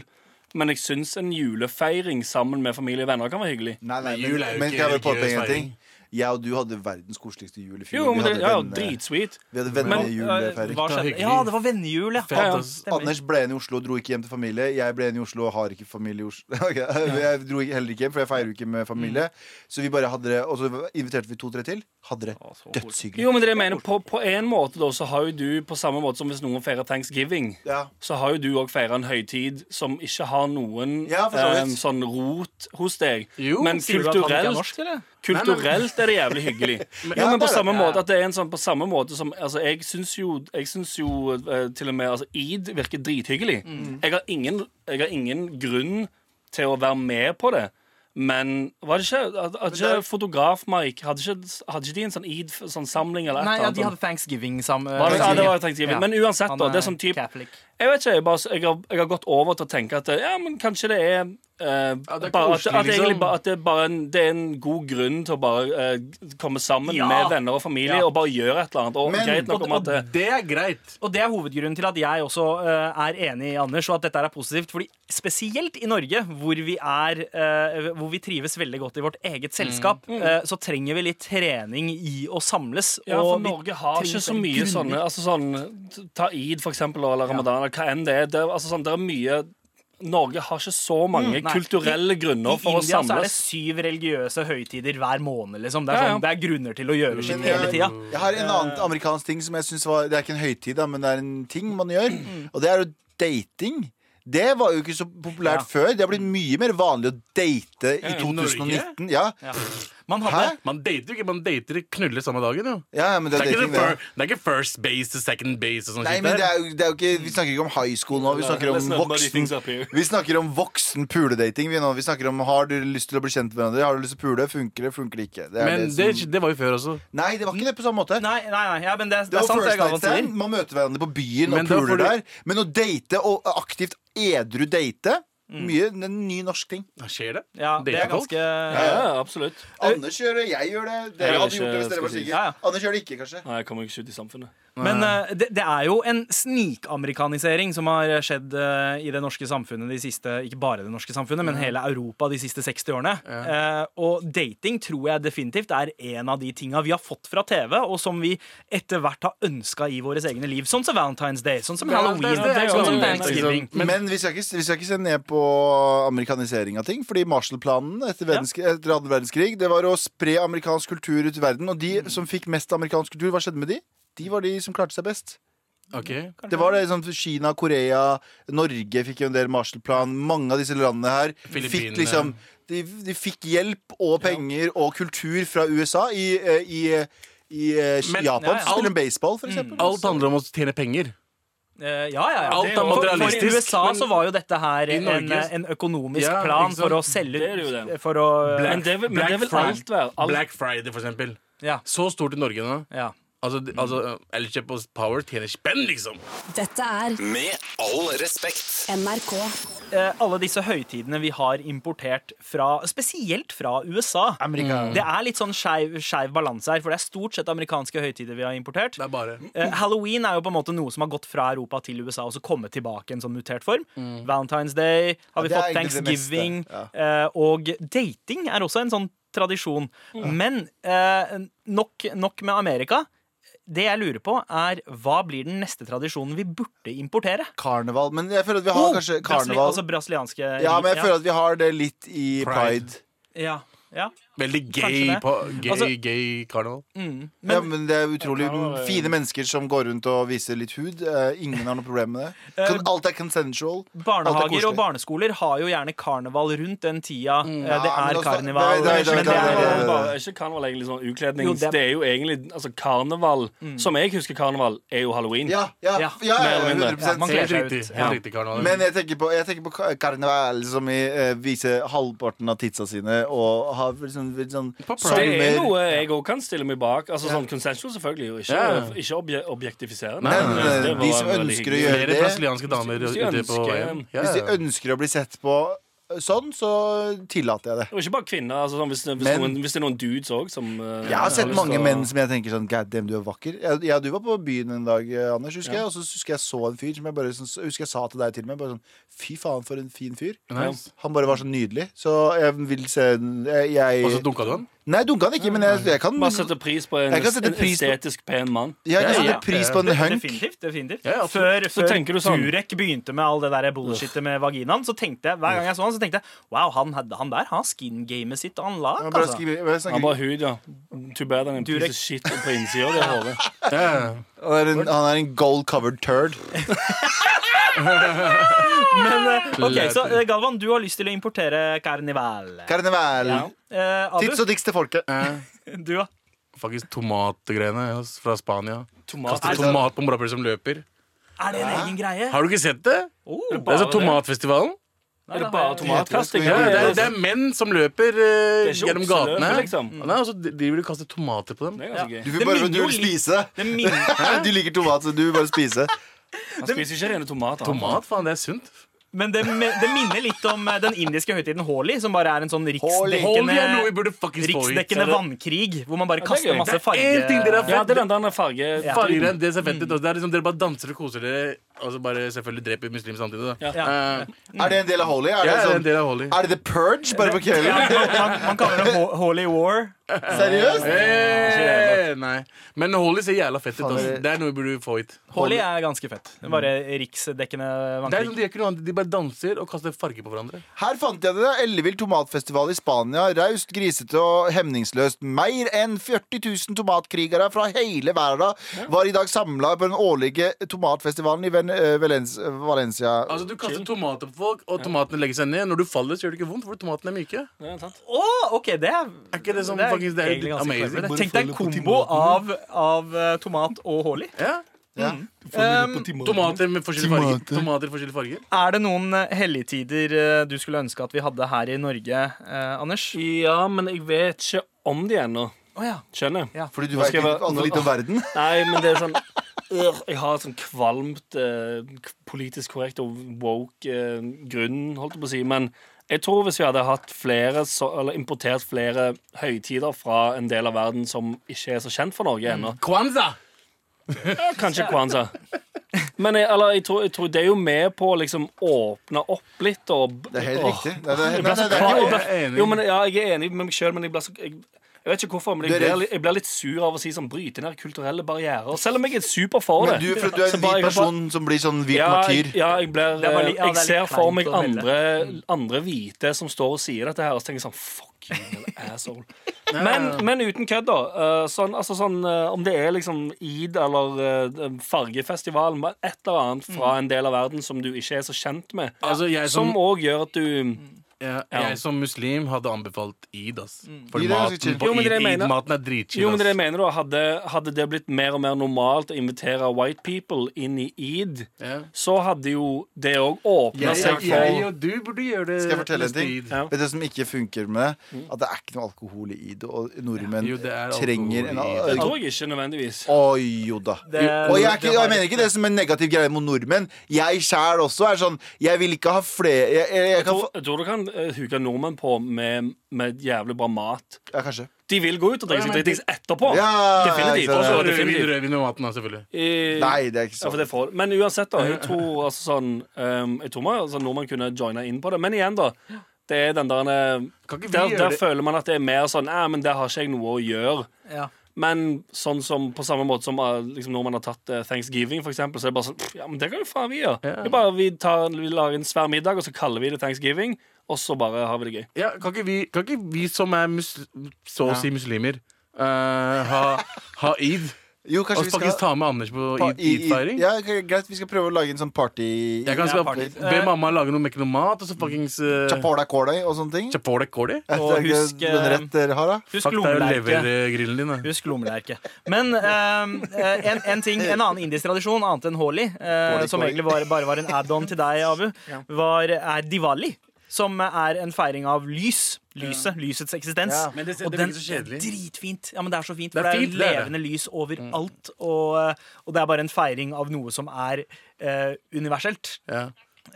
B: Men jeg syns en julefeiring sammen med familie og venner kan være hyggelig.
E: Nei, nei,
G: Men jul er jo
E: men, men
G: ikke
E: kan jeg bare påpeke
G: religiøs
E: en ting? Jeg og du hadde verdens koseligste jul i fjor.
B: Jo, men
E: vi
B: det
E: hadde
B: ja,
F: eh,
E: venne-
B: dritsweet.
E: vi hadde
F: Men, eh,
E: vennejulefeiring.
F: hva
G: Det var
F: skjedde?
G: hyggelig.
F: Ja, det var vennejul, ja.
G: Fett,
B: ja.
G: ass.
F: stemmer.
E: Anders ble igjen i Oslo, dro ikke hjem til familie. Jeg ble igjen i Oslo og har ikke familie i Oslo. Ok, Jeg dro ikke- heller ikke hjem, for jeg feirer jo ikke med familie.
F: Mm.
E: Så vi bare hadde det, og så inviterte vi to-tre til. Hadde det
B: Jo,
E: dødshyggelig.
B: men det jeg mener, på, på en måte da, så har jo du, på samme måte som hvis noen feirer thanksgiving,
E: Ja.
B: så har jo du òg feira en høytid som ikke har noen
E: Ja, for så vidt.
B: em, sånn rot hos deg.
G: Jo,
B: men
F: Sier du at han ikke er
B: kulturelt,
F: norsk, eller?
B: kulturelt er det jævlig hyggelig. jo,
E: Ja,
B: men på
E: det er
B: samme
E: det.
B: måte at det er en sånn på samme måte som altså, Jeg syns jo, jeg syns jo eh, til og med altså, id virker drithyggelig. Jeg, har ingen, jeg har ingen grunn til å være med på det. Men var det ikke, hadde hadde ikke fotograf Mike Hadde ikke, hadde ikke de en sånn id sånn samling eller et
F: Nei,
B: eller
F: ja,
B: annet?
F: de
B: sånt?
F: hadde thanksgiving sammen.
B: Var det- ja, det var Thanksgiving. Men uansett, da, det er sånn typ-
F: Catholic.
B: Jeg vet ikke, jeg, bare, jeg, har, jeg har gått over til å tenke at ja, men kanskje det er eh,
G: det er
B: bare, at,
G: koselig,
B: at, det egentlig
G: liksom.
B: bare, at det, er bare en, det er en god grunn til å bare eh, komme sammen
F: Ja.
B: med venner og familie
F: Ja.
B: og bare gjøre et eller annet. Og
E: Men-
B: greit nok om at eh,
G: Det er greit.
F: Og det er hovedgrunnen til at jeg også eh, er enig i Anders, og at dette er positivt. Fordi spesielt i Norge, hvor vi, er, eh, hvor vi trives veldig godt i vårt eget
B: Mm.
F: selskap, eh, så trenger vi litt trening i å samles.
B: ja,
F: og
B: for
F: vi
B: Norge har
F: trenger
B: ikke så
F: veldig
B: mye
F: grundig-
B: sånne altså sånn, Ta id, for eksempel, eller ramadan, eller hva enn det er. Det, er- altså, sånn, det er mye Norge har ikke så mange
F: Mm, nei.
B: kulturelle
F: I
B: grunner for å
F: India så er det
B: samles.
F: syv religiøse høytider hver måned. Liksom. Det, er
B: Ja, ja.
F: sånn, det er grunner til å gjøre
E: Men
F: shit hele
E: jeg,
F: tida.
E: jeg har en annen amerikansk ting som jeg synes var Det er ikke en høytid, da, men det er en ting man gjør.
F: Mm.
E: Og det er jo dating. Det var jo ikke så populært
F: Ja.
E: før. Det har blitt mye mer vanlig å date i
G: I Norge?
E: 2019. Ja,
F: Ja. Man
E: Hæ?
F: hadde
G: Man dater ikke, man dater knuller samme dagen, jo.
E: ja men det
G: Det
E: er
G: er, ikke
E: dating,
G: det,
E: det.
G: fir, det er ikke first base til second base og sånn
E: Nei,
G: shit
E: men det
G: der.
E: er, jo, det er jo ikke, Vi snakker ikke om high school nå. Vi snakker
B: Let's
E: om
B: not muddy
E: voksen
B: things up here.
E: Vi snakker om voksen puledating. Vi, nå. vi snakker om har du lyst til å bli kjent med hverandre. Har du lyst til å pule? Funker det? Funker det ikke? Det er
G: Men
E: det
G: det,
E: som-
G: det var jo før også.
E: Nei, det var ikke det på samme måte.
F: Nei, nei, nei ja, men det, det,
E: Det
F: er
E: var
F: sant. Det
E: first
F: er
E: night
F: gammelt
E: stand. Man møter hverandre på byen
G: Men
E: og
G: da får
E: puler
G: du-
E: der. Men å date og aktivt edru date Mye en ny norsk ting.
G: Skjer det?
F: Ja, det er
G: Dater folk?
F: ganske
B: Ja, ja, absolutt.
E: Anders gjør det, jeg gjør
B: Jeg
E: det. Dere
B: gjør
E: hadde gjort det hvis
B: ikke,
E: dere
B: skal
E: var
B: jeg si.
E: sikre.
F: Ja, ja.
E: Anders gjør det ikke, kanskje.
B: Nei, jeg kommer ikke ut i samfunnet.
F: Men eh, det, det er jo en snikamerikanisering som har skjedd eh, i det norske samfunnet de siste Ikke bare det norske samfunnet, men hele Europa de siste 60 årene. Eh, og dating tror jeg definitivt er en av de tinga vi har fått fra TV, og som vi etter hvert har ønska i våre egne liv. Sånn som Valentine's Day, sånn som Halloween,
G: det er jo
F: sånn som
G: en-
F: Thanksgiving.
G: Men-
E: Men, vi, skal ikke, vi skal ikke se ned på amerikanisering av ting. Fordi Marshall-planen etter, verdenskrig- etter andre verdenskrig Det var å spre amerikansk kultur ut i verden. Og de som fikk mest amerikansk kultur, hva skjedde med de? De var de som klarte seg best.
G: Ok.
E: Det var det sånn Kina, Korea, Norge fikk jo en del Marshall-plan. Mange av disse landene her
G: Filippinene.
E: fikk liksom de, de fikk hjelp og penger og kultur fra USA i, eh, i, eh, i eh,
G: Men-
E: Japan.
F: ja, ja.
E: Spiller baseball, for eksempel.
G: Alt handler om å tjene penger.
F: Eh, ja, ja, ja.
G: Alt
F: Det-
G: er
F: for, for
G: materialistisk,
F: USA
G: men
F: så var jo dette her
G: i
F: en,
G: Norge-
F: en økonomisk
G: Ja,
F: plan
G: ikke sant?
F: for å selge
B: Det er det jo det.
F: For å
B: Men det, vil- men det vil
G: Friday-
B: alt være. Alt,
G: Black Friday, for eksempel.
F: Ja.
G: Så stort i Norge nå.
F: ja.
G: Altså, de- altså eh, Elkjøp og Power tjener spenn, liksom.
A: Dette er
D: Med all respekt.
A: NRK.
F: eh, alle disse høytidene vi har importert fra, spesielt fra USA. Det er litt sånn skeiv skeiv balanse her, for det er stort sett amerikanske høytider vi har importert.
G: Det er bare
F: Eh, Halloween er jo på en måte noe som har gått fra Europa til USA og så kommet tilbake i en sånn mutert form. Valentine's Day har vi
E: Mm. det er
F: fått,
E: egentlig det
F: Thanksgiving
E: meste,
F: eh, og dating er også en sånn tradisjon.
E: Mm.
F: Men eh, nok, nok med Amerika. Det jeg lurer på, er hva blir den neste tradisjonen vi burde importere?
E: Karneval. Men jeg føler at vi har
F: Oh,
E: kanskje
F: brasili-
E: karneval.
F: altså brasilianske
E: Ja, men jeg
F: ja.
E: føler at vi har det litt i pride.
G: Pride.
F: Ja, ja.
G: Veldig gay,
F: Kanskje det.
G: på, gay,
F: Altså-
G: gay karneval.
E: Men, ja, men det er utrolig
B: Ja, det var-
E: fine mennesker som går rundt og viser litt hud. Eh, ingen har noe problem med det. Kan, alt er consensual. alt er
F: Barnehager
E: koselig.
F: og barneskoler har jo gjerne karneval rundt den tida. eh, Det
E: Ja, men
F: er
E: altså-
F: karneval.
E: Nei, nei, nei,
F: men det
E: nei, nei,
F: er
E: nei.
F: jo-
B: Bare, ikke karneval egentlig sånn ukledning.
F: Jo,
B: det,
F: det-
B: er... jo egentlig altså karneval Som jeg husker karneval, er jo halloween.
E: Ja, ja, ja,
F: Ja,
E: ja,
B: mer eller mindre.
E: 100
F: Ja, man kler
G: Helt
F: seg ut.
G: riktig.
F: Ja.
G: Helt riktig karneval.
E: Men jeg tenker på, jeg tenker på ka- karneval som i, eh, viser halvparten av tidsa sine og har litt sånn, litt sånn
G: Pride.
B: Det er
E: salmer.
B: noe jeg òg kan stille meg bak. Altså sånn Consensual, selvfølgelig. Og ikke,
G: Ja.
B: ikke obje objektifiserende.
E: Nei,
B: men
E: nei, nei,
B: det var
E: de som
B: veldig
E: ønsker å
B: hyggelig.
E: gjøre-
G: Flere
E: det-
G: brasilianske damer
B: Hvis de
G: ute på
B: ønsker-
G: veien. Ja,
E: Hvis de
G: ja.
E: ønsker å bli sett på sånn, så tillater jeg det.
B: Og ikke bare kvinner. Altså, sånn, hvis, hvis,
E: Men-
B: noen, hvis det er noen dudes òg som eh,
E: Jeg har sett
B: lyst
E: mange
B: til å-
E: menn som jeg tenker sånn God damn, du er vakker. Jeg, jeg, du var på byen en dag, eh, Anders, husker jeg. Og så husker jeg så en fyr som jeg bare sånn, så husker jeg sa til deg til og med. Bare sånn, Fy faen, for en fin fyr.
G: Nice.
E: Han bare var så nydelig. Så jeg vil se en- jeg, jeg,
G: Og så dunka du han?
E: Nei, dunka han ikke, men jeg, jeg kan
B: Bare setter pris på en,
E: Jeg kan sette
B: en
E: pris på-
B: estetisk pen mann.
E: Jeg kan
G: Ja,
E: sette
G: ja.
E: pris på en
F: Det-
E: hunk.
F: Definitivt. definitivt
G: Ja, ja,
F: Før,
B: Så
F: før
B: tenker du sånn-
F: Turek begynte med all det der bullshitet med vaginaen, så tenkte jeg hver gang jeg så han, så tenkte jeg wow, han, hadde- han der har skin gamet sitt on lag.
E: Han bare
F: Altså.
E: skriver- bare
B: Han har
E: snakker-
B: bare hud, ja. Too bad han er en
F: Durek.
B: piece of shit på innsida av det håret.
E: Han er en, han er en gold covered turd.
F: Men, eh, ok, så eh, Galvan, du har lyst til å importere carnival.
E: Karneval.
F: Eh,
E: Tips
F: Abu,
E: og triks til folket.
G: Eh.
F: du da?
G: Faktisk tomatgreiene ja, fra Spania.
B: Tomat.
G: Kaster tomat på morapulere som løper.
F: Er det en egen greie?
G: Har du ikke sett det?
F: Oh,
G: Det er så tomatfestivalen.
B: Er det bare tomatkasting?
E: Ja,
G: Ja, det, er,
B: det
G: det er menn som løper eh,
B: Det er ikke
G: gjennom
B: okseløper,
G: gatene.
B: liksom.
G: Nei, og så driver de og kaster tomater på dem.
B: er ganske
E: Du
B: gøy.
E: vil
F: Det
E: bare
F: minner
E: du
F: jo
E: vil
F: litt-
E: spise.
F: Det minner
E: Du liker tomat, så du vil bare spise.
B: Han spiser ikke rene tomater. han.
G: Tomat, faen, det er sunt.
F: Men det, det minner litt om eh, den indiske høytiden holi, som bare er en sånn
E: Holi.
G: Hold igjen noe vi
F: riksdekkende,
G: burde fuckings få ut.
F: riksdekkende vannkrig, hvor man bare
B: det er
F: kaster
B: gøy.
F: masse farge...
G: Én ting dere har
B: Ja,
G: fått
B: det er den der farge...
F: Ja.
G: Farger enn det ser fett ut. altså. Det er liksom, dere bare danser og koser dere, og så bare selvfølgelig dreper muslimer samtidig. Da.
B: Ja.
G: Eh,
E: Er det en del av holy? Er
G: ja,
E: det,
G: det er en
E: sånn,
G: del av Holly.
E: er det The Purge bare på kvelden?
F: Man, man, man kaller det ho- holy war.
E: Seriøst?
G: Eh, nei. Men Holly ser jævla fett ut.
E: Faen,
G: Altså.
E: det-
G: Det er noe vi burde få hit.
F: Holy er ganske fett. Det er Bare riksdekkende
G: Det er som
F: vannkrig.
G: de, gjør ikke noe annet. de bare danser og kaster farger på hverandre.
E: Her fant jeg det. Ellevill tomatfestival i Spania. Raust, grisete og hemningsløst. Mer enn 40 000 tomatkrigere fra hele verden var i dag samla på den årlige tomatfestivalen i Ven eh, Valens Valencia.
G: Altså Du kaster tomater på folk, og tomatene legger seg ned. Når du faller, så gjør det ikke vondt, for tomatene er myke.
B: Det er sant.
F: Å, OK, det er
G: Er ikke det sånn
F: er
G: faktisk, det er
F: egentlig ganske
G: amazing.
F: clever, det.
G: Bare
F: Tenk deg en kombo av, av eh, tomat og holy.
G: Ja. Mm.
E: Ja.
F: Um,
G: Tomater med forskjellige farger. Tomater i forskjellige farger
F: er det noen eh, helligtider eh, du skulle ønske at vi hadde her i Norge, eh, Anders? Å
B: Ja, men jeg vet ikke om de ennå.
F: ja.
B: Skjønner jeg.
E: Fordi du
B: Nå
E: vet
B: skal jeg være-
E: ikke altfor lite om verden?
B: Nei, men det er sånn øh, Jeg har et sånn kvalmt eh, k- politisk korrekt og woke eh, grunn, holdt jeg på å si. Men jeg tror hvis vi hadde hatt flere, så, eller importert flere høytider fra en del av verden som ikke er så kjent for Norge ennå
G: Kwanza!
F: Mm.
B: Kanskje kwanza. Men jeg, eller, jeg, tror, jeg tror det er jo med på å liksom åpne opp litt og
E: Det er helt
B: Åh,
E: riktig. Det er, det,
B: jeg
E: nei,
B: ble
E: nei,
B: så
E: det er
B: klar-
E: ikke
B: jeg
G: Jeg er
B: ble-
G: enig.
B: Jo, men jeg- jeg er enig med meg sjøl, men jeg ble så jeg, jeg vet ikke hvorfor, men
E: Du
B: jeg
E: er
B: blir,
E: redd.
B: litt- jeg blir litt sur av å si sånn bryte ned kulturelle barrierer. Selv om jeg er super for det.
E: Men du, for du er
B: Så
E: en
B: bare-
E: hvit
B: jeg bare-
E: person som blir sånn hvit
B: ja,
E: martyr.
B: jeg- Ja, jeg, blir, eh,
F: Det er bare litt- ja,
B: jeg
F: det er
B: ser
F: litt
B: for meg
F: kleint å melde. Mm.
B: andre, andre hvite som står og sier dette her, og så tenker jeg sånn Fuck you, jævla asshole. Men, men uten kødd, da. eh, Sånn, altså sånn, eh, om det er liksom Eid eller eh, fargefestival, men et eller annet
F: Mm.
B: fra en del av verden som du ikke er så kjent med,
E: Ah,
G: Altså, jeg som,
E: sånn-
B: som òg gjør at du
G: ja, jeg som muslim hadde anbefalt eid, ass. For
E: Eid er ganske chill.
G: maten på
B: Jo, men
G: eid,
B: dere mener-
G: eid-maten er dritchill.
B: Jo, men det
G: ass.
B: mener da, hadde, hadde det blitt mer og mer normalt å invitere white people inn i eid,
G: Ja.
B: så hadde jo det òg åpna
G: Jeg,
B: seg
G: jeg,
B: for
G: jeg og du burde gjøre det.
E: Skal jeg fortelle en
G: neste
E: ting?
G: Eid.
B: Ja. Mm.
E: Vet du hva som ikke funker med det? At det er ikke noe alkohol i det, og nordmenn
G: Jo, det er
E: trenger en
G: alkohol i
B: Det tror jeg ikke nødvendigvis.
E: Oi, jo da.
F: Det-
E: og jeg, er ikke,
F: det var-
E: jeg mener ikke det som en negativ greie mot nordmenn. Jeg sjæl også er sånn Jeg vil ikke ha flere jeg, jeg, jeg
B: Jeg
E: kan
B: tror,
E: få
B: jeg tror du kan eh, huke nordmenn på med, med jævlig bra mat.
E: Ja, kanskje.
B: De vil gå ut og drikke seg
G: Ja, men-
B: dritings etterpå.
E: Ja,
B: definitivt.
E: ikke sant.
B: Også
G: Og rødvin,
B: definitivt.
G: rødvin med maten, da, selvfølgelig.
B: Eh,
E: Nei, det er ikke
B: Ja, for det
E: sånn.
B: får, men uansett, da. Jeg tror altså sånn ehm, Jeg tror man, altså, nordmenn kunne joina inn på det. Men igjen, da. Det er den der,
G: Kan ikke vi
B: der,
G: gjøre
B: der
G: det?
B: føler man at det er mer sånn Nei, men det har ikke jeg noe å gjøre.
F: Ja.
B: Men sånn som, på samme måte som eh, liksom, når man har tatt eh, thanksgiving, for eksempel, så er det bare sånn pff, Ja, men det kan jo faen vi gjøre.
G: Ja.
B: Det er bare Vi, tar, vi lager en svær middag, og så kaller vi det thanksgiving, og så bare har vi det gøy.
G: Ja, kan, ikke vi, kan ikke vi som er musl så å si muslimer, eh, ha, ha eid?
E: Jo,
G: Og
E: kanskje
G: så
E: vi
G: faktisk
E: skal
G: ta med Anders på
E: pa-
G: eid-
E: i- i-
G: eid-feiring?
E: Ja, ok, greit, vi skal prøve å lage en sånn party
G: Jeg kan
F: Ja,
G: skal
F: party.
G: be mamma lage noe, mekke noe mat, og så fuckings uh,
E: Chapola kåløy og sånne ting.
G: Chapole kåli.
E: Og
F: Og
E: husk,
F: husk, eh,
E: den rett dere har, da.
F: Husk
G: Fuck, det er jo
F: lommelerke.
G: levergrillen din, da.
F: Husk lommelerke. Men eh, eh, en, en ting, en annen indisk tradisjon, annet enn holi, eh,
E: Holi,
F: som
E: holi.
F: egentlig var, bare var en add-on til deg, Abu, var, er diwali. Som er en feiring av lys. Lyset. Lysets eksistens.
E: Ja.
G: Men det- det
F: og
G: blir
F: den
G: så kjedelig.
F: er dritfint. Ja, men det er så fint.
G: Det
F: For
G: er
F: det er,
G: fint, det er det.
F: levende lys
E: Mm.
F: overalt. Og, eh, og det er bare en feiring av noe som er eh, universelt.
G: Ja.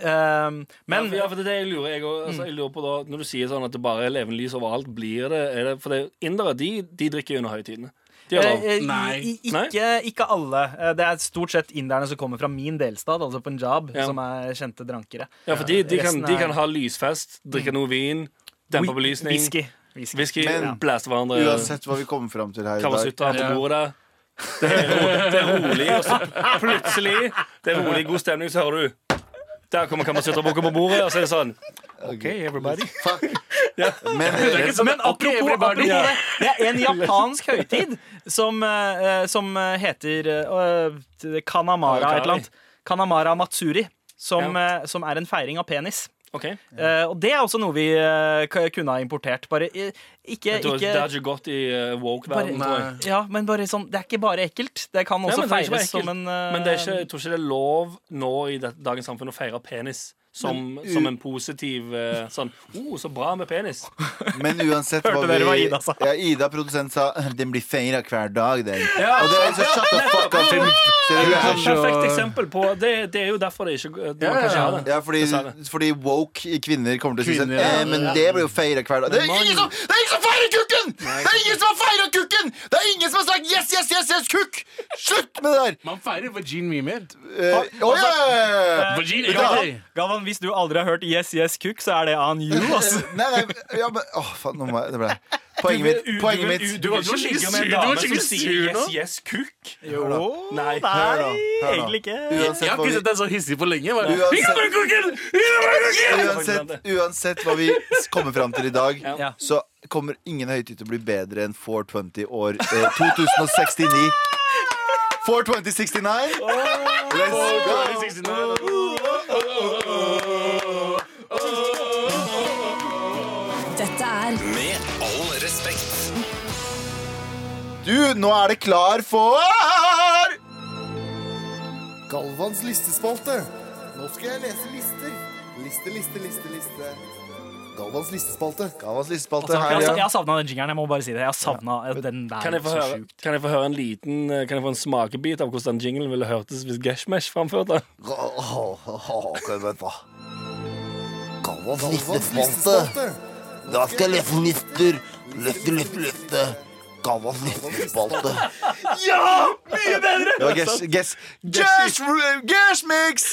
F: Eh, men
B: Men, ja, for det er det jeg lurer, jeg, også. altså, jeg lurer på da Når du sier sånn at det bare er levende lys overalt, blir det, er det For det, indere, de, de drikker jo under høytidene. De gjør
F: Eh,
B: det.
F: eh,
G: Nei.
F: i- i-
B: Nei?
F: Ikke, ikke alle. Eh, Det er stort sett inderne som kommer fra min delstat, altså Punjab,
B: Ja.
F: som er kjente drankere.
B: Ja, for de, de, kan,
F: Resten
B: de
F: er-
B: kan ha lysfest, drikke noe vin, dempe
F: Whi-
B: belysning,
F: Whisky. Whisky.
B: whisky
E: Men-
B: ja. blæste hverandre.
E: Uansett hva vi kommer fram til her i dag.
B: Kawasutta på
G: Ja.
B: bordet. Det er rolig, det er rolig og så plutselig Det er rolig, god stemning, så hører du Der kommer Kamasutra-boka på bordet, og så er det sånn OK, everybody.
E: Fuck. Men
G: Det er ikke sånn,
F: Men apropos,
G: okay,
F: apropos
G: everybody.
F: det, det er en japansk høytid som, eh, som eh, heter eh, Kanamara
B: Kari.
F: et eller annet. Kanamara Matsuri, som, eh, som er en feiring av penis.
B: Ok,
F: Eh, og det er også noe vi eh, k- kunne ha importert. Bare eh, ikke,
B: jeg tror Det
F: ikke
B: er ikke godt i eh, woke-verden, tror jeg.
G: Nei.
F: ja, men bare sånn, Det er ikke bare ekkelt. Det kan
B: Nei,
F: også
B: men det er ikke bare
F: feires som en
B: ekkelt.
F: eh,
B: Men det er ikke, jeg tror ikke det er lov nå i det, dagens samfunn å feire penis som, som en positiv eh, sånn oh, så bra med penis.
E: Men uansett
F: Hørte dere hva Ida sa?
E: Ja, Ida, produsent, sa Den blir feira hver dag, den. Og det er liksom shut the fuck up. Så det er sånn-
B: Perfekt eksempel på Det, det er jo derfor det ikke det, man kan ikke ha det.
E: Ja, fordi,
B: Dessverre.
E: fordi woke kvinner kommer til å si sånn
G: Kvinner,
E: eh,
G: ja.
E: Men det blir jo feira hver dag. Det er ingen som, det er ingen som feirer kukken! Det er ingen som har feira kukken! Det er ingen som har sagt yes, yes, yes, yes, kukk! Slutt med det der!
G: Man feirer vagin mye mer.
E: Eh, å, ja, ja, ja, ja.
G: Vagin,
E: Vet du hva?
G: ja.
F: Galvan, hvis du aldri har hørt Yes Yes Cook, så er det on you. ass.
E: Nei, nei, ja, men Åh, faen, nå må jeg Det ble Poenget mitt. Poenget mitt.
B: Du kan ikke ligge med en dame som sier yes, yes, kukk.
E: Hør da.
B: Nei.
E: Hør da,
F: Nei,
E: hør da.
F: egentlig ikke.
G: Jeg
E: Uansett hva
G: har ikke
E: vi
G: sett deg så hissig på lenge. Bare,
E: Uansett-
G: «Ikke bare kokken! Ikke bare kokken!»
E: Uansett, uansett hva vi kommer fram til i dag,
F: Ja.
E: så kommer ingen høytid til å bli bedre enn 420 år eh, 2069. 42069. Let's go!
A: Dette er
D: Med all respekt.
E: Du, nå er det klar for Galvans listespalte. Nå skal jeg lese lister. Liste, liste, liste, liste. Galvans listespalte. Galvans listespalte
F: Jeg har-
E: her,
F: jeg
E: ja.
F: har savna den jingeren. Jeg må bare si det. Jeg har savna den der.
B: Kan jeg, få
F: så
B: høre,
F: sjukt.
B: kan jeg få høre en liten eh, Kan jeg få en smakebit av hvordan den jinglen ville hørtes hvis Geshmesh framførte den?
E: Ok, vent da. Galvans listespalte. Da skal jeg lese lister. Liste, liste, liste. Galvans listespalte.
F: Ja! Mye bedre!
E: Det var guess, guess, guess, guess mix!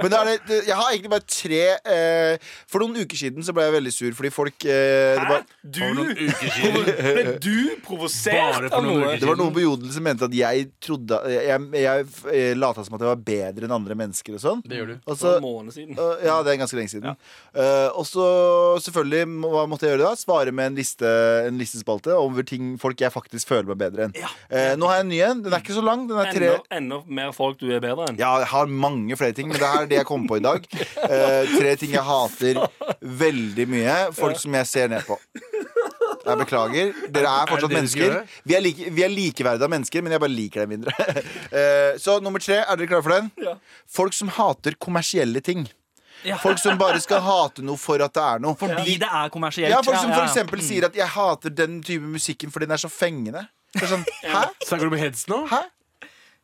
E: Men da er det, det- jeg har egentlig bare tre eh, For noen uker siden så ble jeg veldig sur fordi folk eh, det, var,
B: Du
G: For noen uker siden.
B: Ble du
G: Bare
B: provosert
G: for
B: av
G: noen
B: noe?
G: uker
E: det var noen på Jodel som mente at jeg trodde Jeg, jeg, jeg lata som at jeg var bedre enn andre mennesker og sånn.
G: Det gjør du.
E: Og
B: For
E: så-
B: en måned siden.
E: Uh, ja, det er ganske lenge siden. Uh, og så selvfølgelig, må- hva måtte jeg gjøre da? Svare med en, liste, en listespalte over ting folk jeg faktisk føler meg bedre enn. Uh, nå har jeg en ny en. Den er ikke så lang. Den er tre
B: Enda, enda mer folk du er bedre enn.
E: Ja, jeg har mange flere ting, men det her er det jeg kom på i dag. Eh, tre ting jeg hater veldig mye. Folk som jeg ser ned på. Jeg beklager. Dere er
G: Er det
E: fortsatt
G: det du skal
E: mennesker.
G: gjøre?
E: Vi er, like, vi er likeverdige av mennesker, men jeg bare liker dem mindre. Eh, så nummer tre, er dere klare for den?
B: Ja.
E: Folk som hater kommersielle ting.
F: Ja.
E: Folk som bare skal hate noe for at det er noe.
F: Fordi det er kommersielt.
E: ja, folk som
F: Ja, ja,
E: for
F: ja.
E: eksempel sier at 'jeg hater den type musikken fordi den er så fengende'. Det er sånn, Hæ?
G: Snakker du med heads nå?
E: Hæ?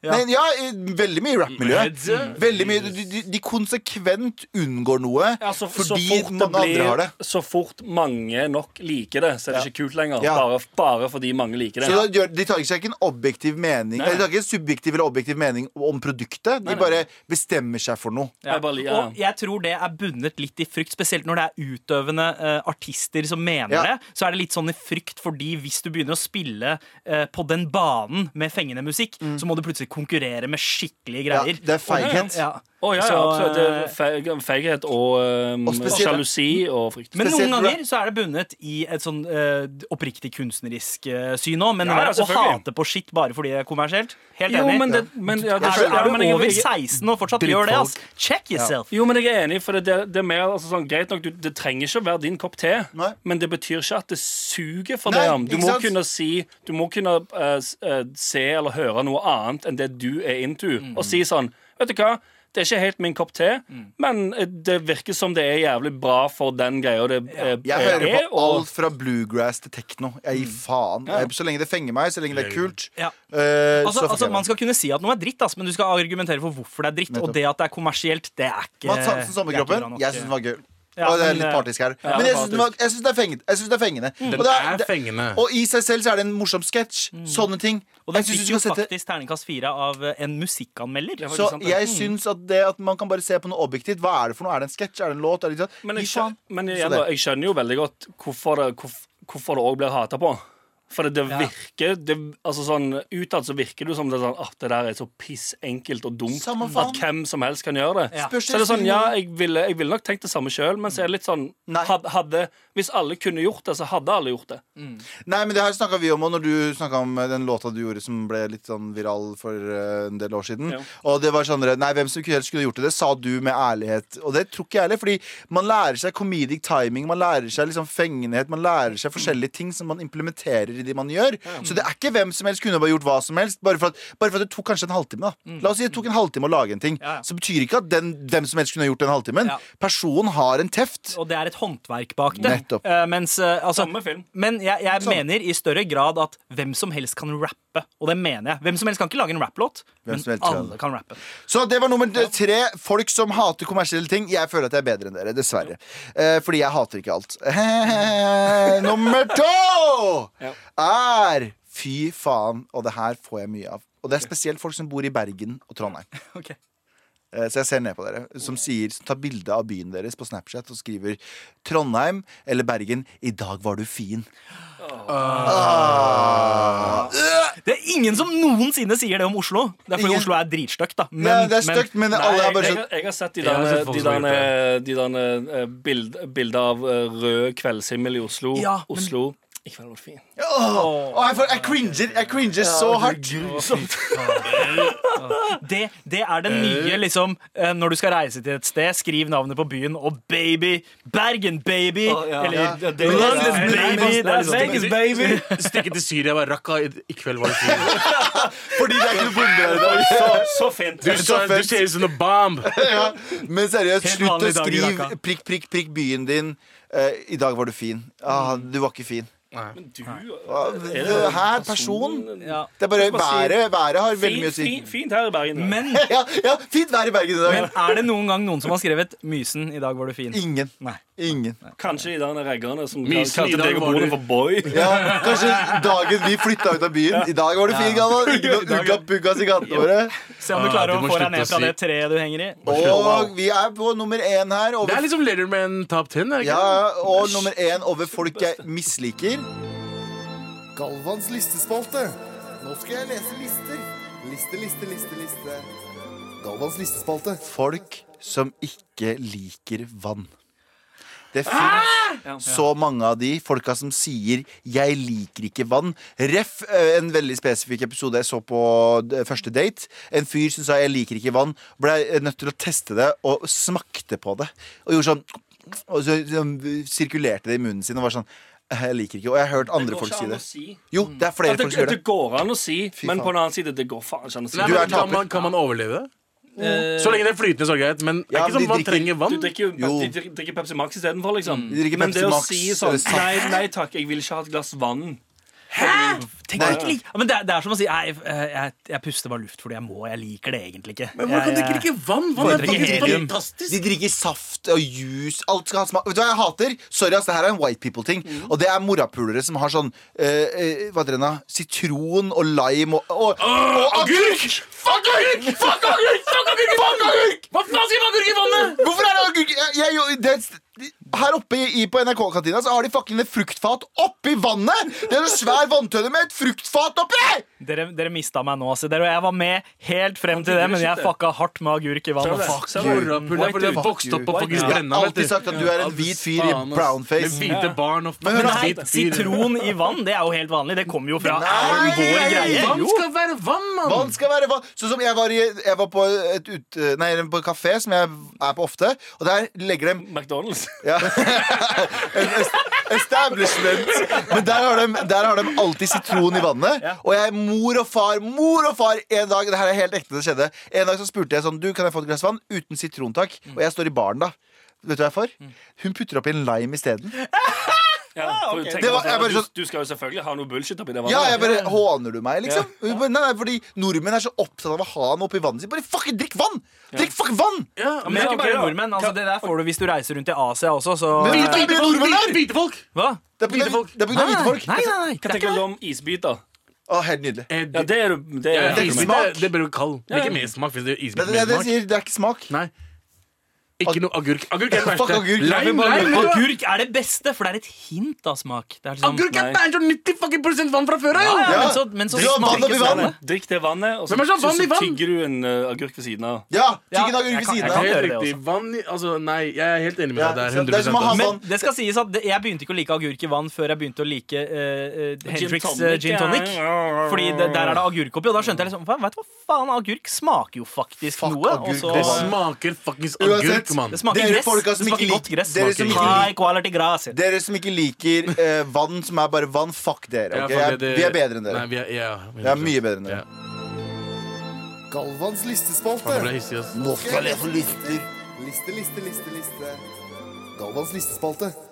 F: Ja.
E: Nei, ja, i- veldig mye i
G: Heads, ja.
E: rappmiljøet. Veldig mye. De, de, de konsekvent unngår noe
B: Ja, så, så,
E: fordi
B: fort det
E: noen andre
B: blir,
E: har det.
B: så fort mange nok liker det, så er det ikke kult lenger.
E: Ja.
B: Bare, bare fordi mange liker det.
E: Så da, gjør- de tar ikke seg ikke en objektiv mening
B: Nei.
E: eller De tar ikke en subjektiv eller objektiv mening om produktet. De
B: nei.
E: bare bestemmer seg for noe.
B: Jeg bare, ja.
F: Og jeg tror det er bundet litt i frykt, spesielt når det er utøvende eh, artister som mener
E: Ja.
F: det. Så er det litt sånn i frykt, fordi hvis du begynner å spille eh, på den banen med fengende musikk, så må du plutselig konkurrere med skikkelige
E: Mm. Ja,
F: greier.
E: det er feighet.
F: Ja.
B: Å, ja, ja,
F: Så,
B: absolutt. Det
F: eh,
B: er feig- Feighet og, um,
E: Og spesielt-
B: sjalusi og frykt.
F: Men
E: Spesielt
F: noen
E: når det-
F: ganger så er det bundet i et sånn eh, oppriktig kunstnerisk eh, syn òg. Men
B: Ja, ja,
F: det der å
B: selvfølgelig.
F: hate på shit bare fordi det er kommersielt, helt
B: jo,
F: enig.
B: men det, men, ja, det,
F: er, du,
B: ja,
F: er
B: men
F: du
B: jeg-
F: over
B: jeg-
F: 16 og fortsatt gjør det, ass, check yourself.
B: Jo, men jeg er enig, for det, det, det er mer altså, sånn, greit nok, du, det trenger ikke å være din kopp te,
E: Nei.
B: men det betyr ikke at det suger for
E: Nei,
B: deg. om. Du
E: ikke
B: må
E: sant?
B: kunne si Du må kunne eh, s- eh, se eller høre noe annet enn det du er into,
F: Mm.
B: og si sånn Vet du hva? Det er ikke helt min kopp te, men eh, det virker som det er jævlig bra for den greia det eh,
E: Jeg hører
B: er.
E: på
B: og-
E: alt fra bluegrass til tekno. Jeg gir faen. Jeg- Så lenge det fenger meg, så lenge det er kult.
F: Ja.
E: eh,
F: Altså,
E: så
F: altså,
E: fortjener
F: man
E: jeg det.
F: skal kunne si at noe er dritt, ass, men du skal argumentere for hvorfor det er dritt.
E: Nettopp.
F: Og det at det er kommersielt, det er ikke
E: Mads Hansen Sommerkroppen, jeg syns den var gøy.
F: Ja,
E: og det er
F: men,
E: litt
F: eh,
E: partisk her. men jeg syns den var- jeg syns det er fengende. Jeg synes det er fengende.
G: Mm. Den
E: Og, det
G: er
E: det-
G: fengende.
E: og i seg selv så er det en morsom sketsj.
B: Mm.
E: Sånne ting.
F: Og den
E: Jeg synes
F: fikk
E: du
F: jo
E: skal sette
F: faktisk terningkast fire av eh, en musikkanmelder. Mm.
B: Ja, for-
E: Så
B: sant, det.
E: jeg syns at det at man kan bare se på noe objektivt. Hva er det for noe? Er det en sketsj? Er det en låt? Er det ikke sant?
B: Men, jeg,
E: Gi
B: skjøn-
E: faen.
B: men
E: Så
B: igjen,
E: det.
B: da, jeg skjønner jo veldig godt hvorfor det, hvorf- hvorfor det også blir hata på. For det, det virker det, altså sånn, Utad så virker det jo som det, er sånn, at det der er så pissenkelt og dumt
E: Samme faen.
B: at hvem som helst kan gjøre det.
F: Ja.
E: Spørs
B: Så er det sånn,
E: det-
B: ja, jeg ville, jeg ville nok tenkt det samme sjøl, men så er det litt sånn
E: Nei.
B: had, hadde, Hvis alle kunne gjort det, så hadde alle gjort det.
E: Nei, men det her snakka vi om òg, når du snakka om eh, den låta du gjorde som ble litt sånn viral for eh, en del år siden.
B: Ja.
E: Og det var sånn Nei, hvem som helst skulle gjort det. Det sa du med ærlighet. Og det tror ikke jeg heller, fordi man lærer seg comedic timing, man lærer seg liksom fengenhet, man lærer seg forskjellige ting som man implementerer i det man gjør. Så det er ikke hvem som helst kunne bare gjort hva som helst, bare for at, bare for at det tok kanskje en halvtime, da. La oss si det tok en halvtime å lage en ting.
F: Mm. Ja, ja.
E: Så betyr ikke at den, hvem som helst kunne gjort den halvtimen.
F: Ja.
E: Personen har en teft.
F: Og det er et håndverk bak det.
E: Nettopp.
F: Eh, mens, eh, altså,
B: Samme film.
F: men jeg, jeg mener i større grad at hvem som helst kan rappe. Og det mener jeg. Hvem som helst kan ikke lage en rapplåt,
E: Hvem
F: men
E: som helst kan.
F: alle kan rappe.
E: Så det var nummer tre. Folk som hater kommersielle ting. Jeg føler at jeg er bedre enn dere, dessverre. Eh, fordi jeg hater ikke alt. nummer to
B: Ja.
E: er Fy faen, og det her får jeg mye av. Og det er spesielt folk som bor i Bergen og Trondheim.
F: Ok.
E: Eh, Så jeg ser ned på dere, som, sier, som tar bilde av byen deres på Snapchat og skriver 'Trondheim eller Bergen, i dag var du fin'.
F: Det er ingen som noensinne sier det om Oslo. Det er fordi
E: Ingen.
F: Oslo er dritstygt, da. Men,
E: ja, det er
F: men-
E: stygt, men, alle er
B: jeg,
E: bare
B: jeg,
E: sånn
B: jeg har sett de
G: Jeg har
B: derne-
G: sett folk
B: de
G: som har
B: derne de derne, eh, bild- bilder av eh, rød kveldshimmel i Oslo.
F: Ja, men-
B: Oslo. I kveld var det fint.
E: Åh, jeg, får- jeg cringer, jeg cringer så hardt.
F: Det, det er den nye, liksom. eh, Når du skal reise til et sted, skriv navnet på byen, og baby! Bergen, baby!
B: ja.
F: Eller
E: Ja. Men-
F: London,
B: Men-
F: baby! Det er
B: Las
F: liksom,
B: Vegas, baby!
G: Stikke til Syria var rakka. I, I kveld var det fint.
E: Fordi det er ikke noe bombe her i dag.
B: Så, så fint.
G: Du sa- du ser ut som en bomb.
E: ja, men seriøst,
F: Helt
E: slutt å
F: vanlig dag i
E: skrive
F: Dhaka.
E: prikk, prikk, prikk byen din. Eh, I dag var du fin. Ah, du var ikke fin.
B: Du,
E: Ah,
B: er
E: det
B: det
E: her, person.
F: ja.
E: Det er bare
B: Hva skal man si?
E: været. Været har Mm, veldig
B: Fint,
E: mye å si.
B: fint, fint her i Bergen. Men,
F: Men,
E: Ja, ja, fint vær i Bergen i
F: men
E: dag.
F: er det noen gang noen som har skrevet 'Mysen, i dag var du fin'?
E: Ingen.
F: Nei.
E: Ingen.
B: Kanskje de der reggerne som
G: Mysen, i
B: kalte
G: dag
B: deg og
G: var
B: broren
G: du-
B: for boy.
E: Ja, kanskje dagen vi flytta ut av byen. I dag var du fin, gammel. Ikke noe ugga puggas i gatene våre.
F: Se om du
G: Ah,
F: klarer
G: du
F: å
G: må
F: få deg
G: slutte
F: ned
G: å
F: fra
G: si-
F: det treet du henger i.
E: Og vi er på nummer én her.
G: Det er
E: Over,
G: liksom Letterman top 10 er det ikke?
E: ja, og nummer én over folk jeg misliker.
A: Galvans listespalte. Nå skal jeg lese lister. Liste, liste, liste, liste. Galvans listespalte.
E: Folk som ikke liker vann. Det finnes så mange av de folka som sier 'jeg liker ikke vann'. Ref eh, en veldig spesifikk episode jeg så på eh, første date. En fyr som sa 'jeg liker ikke vann', ble eh, nødt til å teste det og smakte på det. Og gjorde sånn Og så sånn, sirkulerte det i munnen sin og var sånn «Eh, 'jeg liker ikke'. Og jeg har hørt andre folk si det. Jo, det er flere
B: At
E: folk som
B: det,
E: gjør
B: det
E: det.
B: går an å si, men
E: faen.
B: på den annen side, det går faen ikke an å si.
G: Nei,
E: Du
G: men
E: er
G: kan,
E: taper.
G: man, kan man overleve det? Så lenge det er flytende, så er det greit. Men det
E: Ja,
G: er
E: men de
G: ikke sånn man
E: drikker-
G: trenger vann.
B: Du drikker jo
E: Jo. Mm.
B: de drikker- drikker Pepsi Max istedenfor, liksom.
E: drikker
B: Men
E: Pepsi
B: det å
E: Max
B: si
E: eller
B: sånn
E: saft.
B: Nei, nei takk, jeg vil ikke ha et glass vann.
F: Hæ?! Tenk at ikke lik- ja, men det, er- det er som å si jeg, jeg, jeg puster bare luft fordi jeg må. Jeg liker det egentlig ikke.
G: Men hvordan
F: Jeg-
G: drikker ikke vann? Vann er
F: Foretrekker
G: faktisk
F: helium.
G: fantastisk.
E: De drikker saft og juice. Alt skal ha smak. Vet du hva jeg hater? Sorry, ass, det her er en white people-ting.
G: Mm.
E: Og det er morapulere som har sånn eh, eh, Hva heter det nå? Sitron og lime og, og, og
G: Agurk! Fuck agurk! Fuck agurk! Fuck agurk! Fuck agurk! Hva faen skal man agurk i vannet?
E: Hvorfor er det agurk? Jeg, jeg, jo, det, her oppe i, i- på NRK-kantina så har de fucking et fruktfat oppi vannet! Det er en svær vanntønne med et fruktfat oppi!
F: Dere, dere mista meg nå. Altså. Dere, jeg var med helt frem til det, men jeg fucka hardt med agurk i vann.
B: Ser du det?
F: Fuck.
B: Ser du det?
G: Morapulere er fordi jeg vokste opp på
E: Jeg
G: faktisk
E: har
G: brenna. vet du.
E: alltid sagt at du er en hvit fyr i
G: Faen, ass.
E: brownface.
G: Med hvite barn og
E: Men hør da,
F: Nei, sitron i vann, det er jo helt vanlig. Det kommer jo fra
E: Nei,
F: vår
E: nei,
F: greie.
E: nei.
G: Vann skal være vann, mann!
E: Vann skal være vann. Sånn som jeg var, i, jeg var på, et ut, nei, på en kafé som jeg er på ofte, og der legger de
B: McDonald's.
E: ja, en est- establishment. Men der har, de, der har de alltid sitron i vannet. Og jeg, mor og far, mor og far En dag det her er helt ekte det skjedde En dag så spurte jeg sånn Du, kan jeg få et glass vann uten sitron, takk? Og jeg står i baren, da. Vet du hva jeg får? Hun putter oppi en lime isteden.
B: Ja, for tenk
E: Det var-
B: på
E: jeg bare
B: at du,
E: sånn-
B: du skal jo selvfølgelig ha noe bullshit oppi det vannet.
E: Ja, jeg bare Håner du meg, liksom? Hun bare, Nei, nei, fordi nordmenn er så opptatt av å ha den oppi vannet sitt. Bare fucking drikk vann! Drikk fucking vann!
G: Ja,
F: Men det er ikke
B: Ok,
F: bare
B: da.
F: nordmenn. Altså, det der får du hvis du reiser rundt i Asia også, så
E: Men-
G: Hvite hvite folk! Hvite, hvite folk.
F: Hva?
E: Det er på grunn
G: Hvite
E: av-
G: folk.
E: det er på grunn av hvite folk.
F: Nei, nei, nei.
B: Hva
F: Det er
B: tenker
F: ikke
B: du
F: det.
B: om isbiter?
E: Å, helt nydelig.
G: Eh,
B: Ja,
G: det-
B: det er du det
G: Ja,
B: er,
E: det er
G: isbit,
E: smak.
G: Det det blir jo kald. Det er ikke
B: Ja.
G: mersmak. Fins
E: Det,
G: det isbit
E: det, det,
G: med smak?
E: sier, det er ikke smak.
G: Nei. Ikke noe agurk. Agurk er det
E: Fuck
G: verste.
E: agurk.
G: Lime,
F: Agurk-
G: lime, vet du hva?
F: Agurk er det beste, for det er et hint av smak. Det er liksom,
G: Agurk er
B: Nei.
G: 90 fucking prosent vann fra før av, jo!
F: Ja,
E: Ja.
F: men så, men så
E: Dra vann
F: smaker
E: opp i
F: ikke
E: vannet.
F: vannet.
B: Drikk det vannet, og så,
G: Hvem er det som har
B: så,
G: vann i vann?
B: tygger du en eh, agurk ved siden av.
E: Ja, tyggen
F: Ja,
E: agurk
F: jeg
E: ved
F: kan-
E: siden
F: jeg
E: av.
F: kan-
G: Helt
F: gjøre det
G: riktig. Vann i Altså, nei, jeg er helt enig med
E: Ja,
G: deg.
E: så det
G: Det
E: er
G: er
E: som å ha
G: 100 altså.
E: vann.
F: Men det skal sies at det- jeg begynte ikke å like agurk i vann før jeg begynte å like eh, eh, Hendrix eh, gin tonic. Fordi det, der er det agurk oppi, og da skjønte jeg liksom faen, Vet du hva faen, agurk smaker jo faktisk
E: Fuck
F: noe.
E: agurk,
F: og
G: Det
E: ass.
F: så,
G: smaker fuckings
E: Uansett.
G: agurk, mann.
F: det smaker
E: Dere
F: gress.
E: folka
F: Det
E: som
F: smaker
E: ikke
F: godt
E: liker-
F: gress.
E: dere
F: smaker
E: som ikke
F: High quality grass.
E: Dere som ikke liker eh, vann som er bare vann, fuck dere.
G: Ja,
E: ok?
G: for
E: Jeg,
G: det- det-
E: vi er bedre enn dere.
G: Nei, vi er, ja,
E: Vi er mye bedre enn dere.
G: Ja.
A: Galvans
G: Faen, jeg ble
A: listespalte.
G: hissig, ass.
E: Nå skal jeg få lister.
A: Liste, liste, liste, liste. Galvans listespalte.